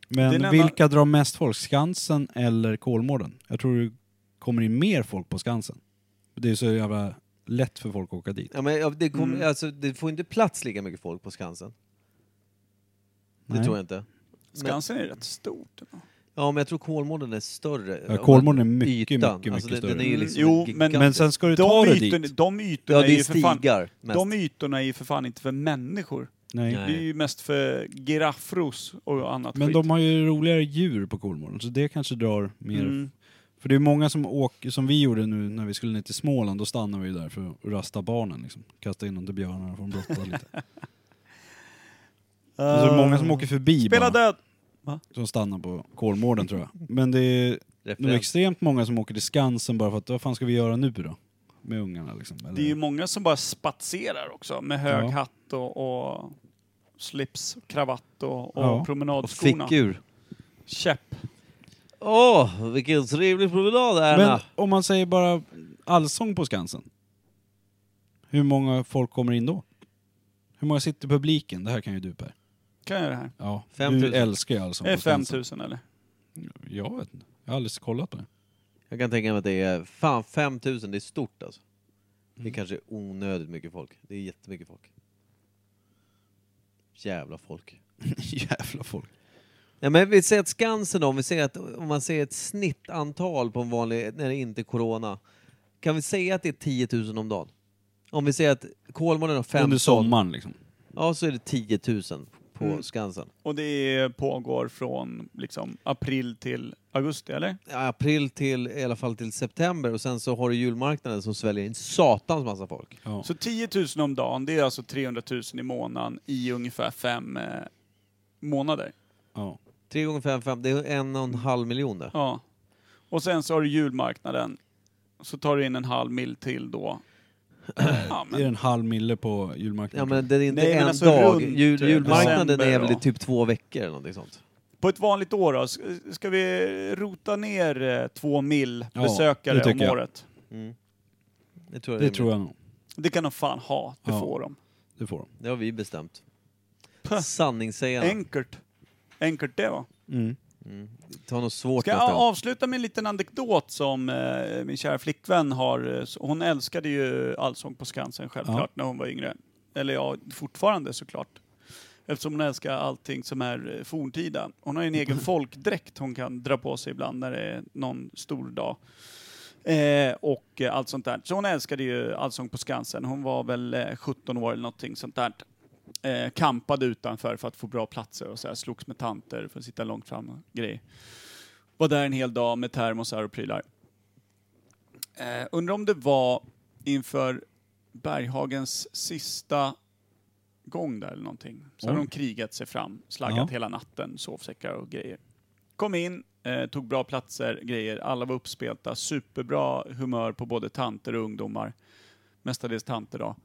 Det är Men en vilka drar mest folk? Skansen eller Kolmården? Jag tror det kommer in mer folk på Skansen. Det är så jävla lätt för folk att åka dit. Ja, men ja, det, kom, Mm. alltså, det får inte plats lika mycket folk på Skansen. Det Nej. tror jag inte. Skansen är rätt stort. ändå. Ja, men jag tror Kolmården är större. Ja, Kolmården är mycket, Ytan. mycket, alltså, mycket den, den är ju större. liksom Mm, jo, gigantisk. men- Men sen ska du ta De dig ytorna, dit. de ytorna Ja, det är är ju för fan... stigar mest. De ytorna är ju för fan inte för människor. Nej. Nej. Det är ju mest för giraffros och annat Men skit. de har ju roligare djur på Kolmården, så det kanske drar mer. Mm. För det är många som åker, som vi gjorde nu när vi skulle ner till Småland, då stannade vi ju där för att rasta barnen liksom. Kasta in dem till björnarna och få dem brotta lite. Och så är Alltså, det många som åker förbi Ah. Spela bara, Ehm, död! som stannar på Kolmården tror jag. Men det är nog Referens. extremt många som åker till Skansen bara för att, vad fan ska vi göra nu då? Med ungarna liksom. Eller, Det är ju många som bara spatserar också med hög Ja. hatt och, och slips, och kravatt och, och Ja. Och promenadskorna. fickur. Käpp. Åh, vilken trevlig promenad Men Erna! om man säger bara allsång på Skansen. Hur många folk kommer in då? Hur många sitter i publiken? Det här kan ju du Per. Kan jag det här? Ja, 5 000. du älskar ju Allsång Är det på Skansen. 5000 eller? Jag vet inte. Jag har aldrig kollat på det. Jag kan tänka mig att det är, fan 5000, det är stort alltså. Det är kanske är onödigt mycket folk. Det är jättemycket folk. Jävla folk. Jävla folk. Ja, men vi säger att Skansen då, om, vi säger att, om man säger ett snittantal på en vanlig, när det inte är corona. Kan vi säga att det är 10 000 om dagen? Om vi säger att Kolmården har 15. Under sommaren liksom. Ja, så är det 10 000 på Mm. Skansen. Och det pågår från liksom april till augusti eller? Ja, April till, i alla fall till september och sen så har du julmarknaden som sväljer in satans massa folk. Ja. Så 10 000 om dagen, det är alltså 300 000 i månaden i ungefär fem eh, månader. ja. 3 gånger 5, 5, det är en och en halv miljon där. Ja. Och sen så har du julmarknaden. Så tar du in en halv mil till då. Ja, Det är men, en halv mille på julmarknaden. Ja men det är inte Nej, men en alltså dag. runt Jul, julmarknaden december är väl i då. typ två veckor eller någonting sånt. på ett vanligt år då, s- ska vi rota ner eh, två mil Ja, det besökare tycker om jag. året? Det tror jag, det tror jag nog. Det kan de fan ha, det Ja. får de. Det får de. Det har vi bestämt. Puh. Sanningssägarna. Enkelt. Enkelt det va. Mm. Ta något svårt Ska jag nästa gång. avsluta med en liten anekdot som eh, min kära flickvän har. eh, s- Hon älskade ju Allsång på Skansen självklart Ja. när hon var yngre. Eller ja, fortfarande såklart. Eftersom hon älskar allting som är eh, forntida. Hon har ju en egen folkdräkt hon kan dra på sig ibland när det är någon stor dag. Eh, och eh, allt sånt där. Så hon älskade ju Allsång på Skansen. Hon var väl eh, 17 år eller någonting sånt där. Eh, kampade utanför för att få bra platser och så här, slogs med tanter för att sitta långt fram och grejer. Var där en hel dag med termosar och prylar. Eh, undrar om det var inför Berghagens sista gång där eller någonting. Så hade de krigat sig fram, slaggat Ja. hela natten, sovsäckar och grejer. Kom in, eh, tog bra platser, grejer. Alla var uppspelta, superbra humör på både tanter och ungdomar. Mestadels tanter då.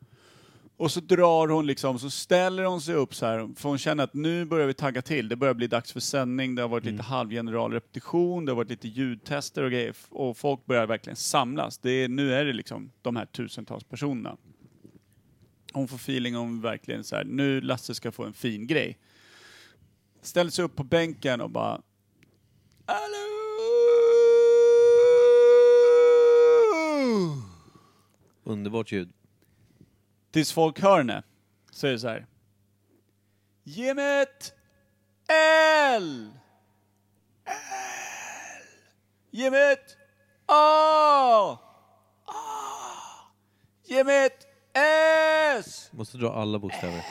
Och så drar hon liksom, så ställer hon sig upp så här, för hon känner att nu börjar vi tagga till. Det börjar bli dags för sändning, det har varit lite halvgeneralrepetition, det har varit lite ljudtester och grejer. f- Och folk börjar verkligen samlas. Det är, nu är det liksom de här tusentals personerna. Hon får feeling om verkligen så här, nu Lasse ska få en fin grej. Ställer sig upp på bänken och bara... Hallå! Underbart ljud. Tills folk hör henne, så är det så här. Ge mig ett L! L! Ge mig ett A! A! Ge mig ett Måste dra alla Eh, bokstäver.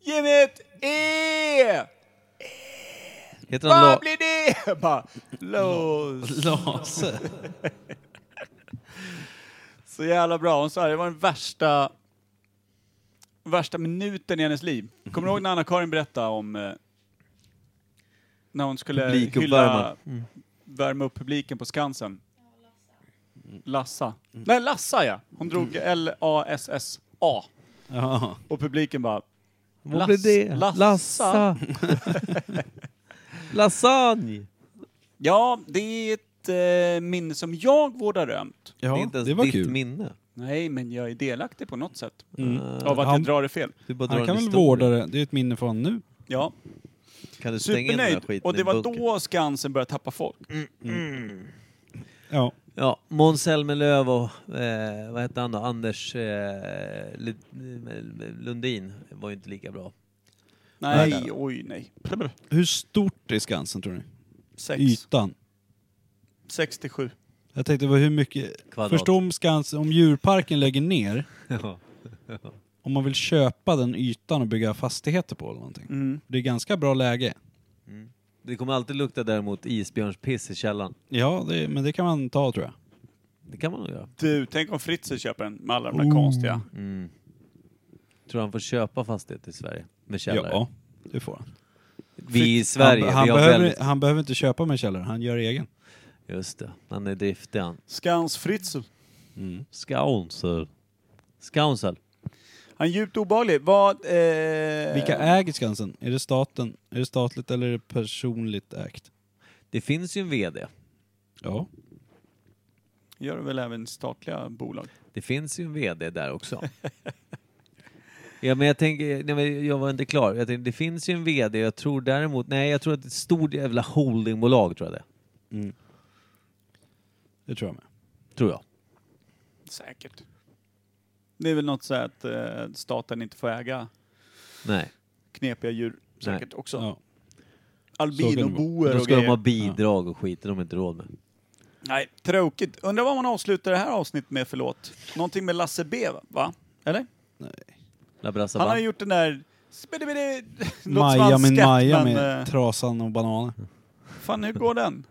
Ge mig ett E! Heter han Vad La... blir det? Bara, Los. Lase. Så jävla bra. Hon sa det var den värsta, värsta minuten i hennes liv. Kommer du ihåg när Anna-Karin berättade om eh, när hon skulle hylla, Publikuppvärmaren. Mm. värma upp publiken på Skansen? Lassa. Nej, Lassa ja. Hon drog L-A-S-S-A. Ja. Och publiken bara... Vad blir det? Lass- Lassa. Lasagne! Ja, det är ett eh, minne som jag vårdar ömt. Ja, det är inte ens det var ditt kul. minne. Nej, men jag är delaktig på något sätt. Eh, Av att Han- jag drar det fel. du bara drar Han en kan väl historia. vårda det. Det är ett minne från nu. Ja, Kan du stänga in den här supernöjd. skiten Och det i var Mm, bunkern? då Skansen började tappa folk. Ja. Ja, Måns Zelmerlöw och eh, vad hette han då? Anders eh, Lund- Lundin var ju inte lika bra. Nej, Nej. oj nej. Hur stort är Skansen tror ni? Sex. Ytan. 67. Jag tänkte på hur mycket... Kvadrat. Förstå om Skansen, om djurparken lägger ner, Ja. om man vill köpa den ytan och bygga fastigheter på eller någonting. Mm. Det är ganska bra läge. Det kommer alltid lukta däremot isbjörnspiss i källaren. Ja, det, men det kan man ta tror jag. Det kan man nog göra. Mm. Du, tänk om Fritzl köper den med alla de där Oh. konstiga. Tror han får köpa fastighet i Sverige med källare? Ja, det får han. Vi i Sverige, han, han, vi har behöver, väldigt... han behöver inte köpa med källare, han gör egen. Just det, han är driftig han. Skans Fritzl. Skaunsel. Skaunsel. Han är djupt obehaglig. Vad... Eh... Vilka äger Skansen? Är det staten? Är det statligt eller är det personligt ägt? Det finns ju en VD. Ja. Gör det väl även statliga bolag? Det finns ju en VD där också. Ja, men jag tänker, nej, men jag var inte klar. Jag tänkte, det finns ju en VD, jag tror däremot, nej jag tror att det är ett stort jävla holdingbolag tror jag det är. Mm. Det tror jag med. Tror jag. Säkert. Det är väl något så här att eh, staten inte får äga Nej. knepiga djur. Säkert också. Ja. Albinoboer Då och ska de grejer. ha bidrag och skit, det har de inte råd med. Nej, tråkigt. Undrar vad man avslutar det här avsnittet med för låt? Någonting med Lasse B, va? Eller? La Brassa Han har Band. ju gjort den där... Spidibidi- låter som Maja hans min skatt, Maja men, med eh, trasan och bananer. Fan, hur går den?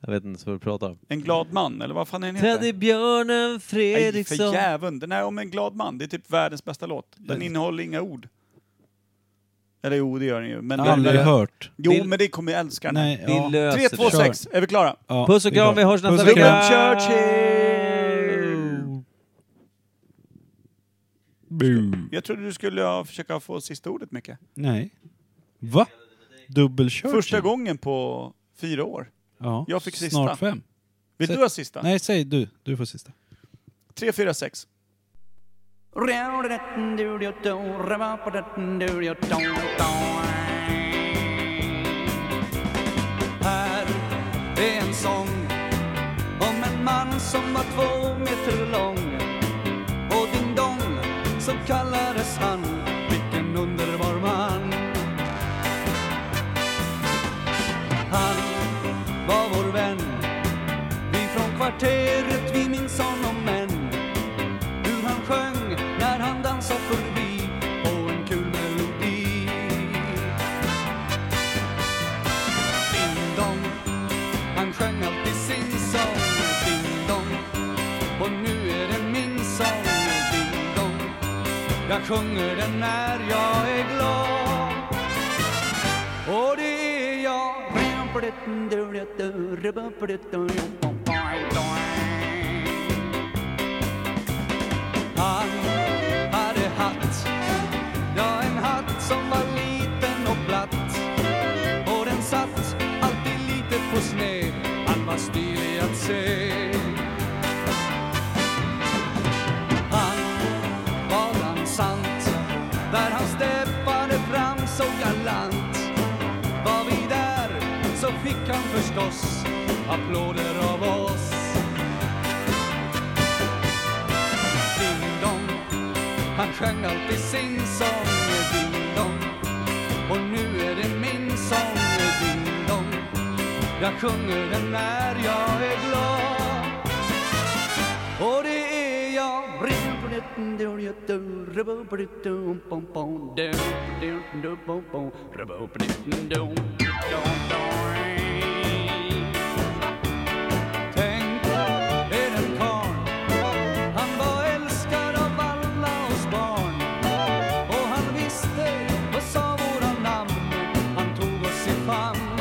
Jag vet inte vad du pratar om. En glad man, eller vad fan är den heter? Teddybjörnen Nej, för Fredriksson. jäveln. Den här om en glad man, det är typ världens bästa låt. Den innehåller inga ord. Eller jo, det gör den ju. Men Jag har aldrig men, hört. Jo, Vill- men det kommer jag älska den. Nej, Vi ja. löser 3, 2, det. Kör. 6. Är vi klara? Ja, Puss och det är kram, bra. vi hörs nästa Puss och vecka! kram. Churchill! Boom. Jag trodde du skulle ha- försöka få sista ordet, Micke. Nej. Va? Dubbelkörd? Första gången på fyra år. Ja. Jag fick sista. Snart fem. Vill Så- du ha sista? Nej, säg du. Du får sista. 3, 4, 6. Här är en sång om en man som var två meter lång och Ding Dong så kallades han. Vilken underbar man! Han var vår vän. Vi från kvarteret, vi minns honom än. Hur han sjöng när han dansade förbi och en kul melodi. Ding dong Han sjöng alltid sin sång Ding dong Och nu är det min sång Ding dong Jag sjunger den när jag är glad Och det är jag Han hade hatt Ja, en hatt som var liten och platt och den satt alltid lite på sned Han var stilig att se Han var dansant Där han steppade fram så galant Var vi där så fick han förstås applåder av oss Ding dong Han sjöng alltid sin sång Ding dong och nu är det min sång, ding dong Jag sjunger den när jag är glad Och det är jag Tänk är en karl Han var älskad av alla oss barn Och han visste och sa våra namn Han tog oss i famn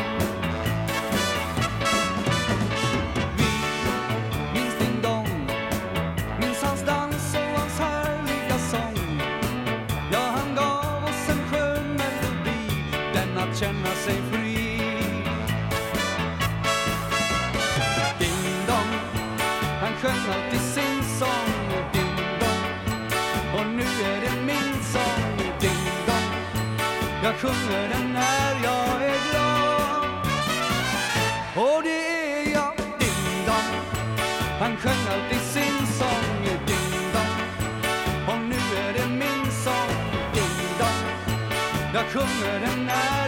Vi minns Ding Dong Minns hans dans och hans härliga sång Ja, han gav oss en skön melodi Den att känna sig fri Ding dong, han sjöng alltid sin sång Ding dong, och nu är det min sång Ding dong, jag sjunger den när jag är glad Och det är jag Ding dong, han sjöng alltid sin sång Ding dong, och nu är det min sång Ding dong, jag sjunger den när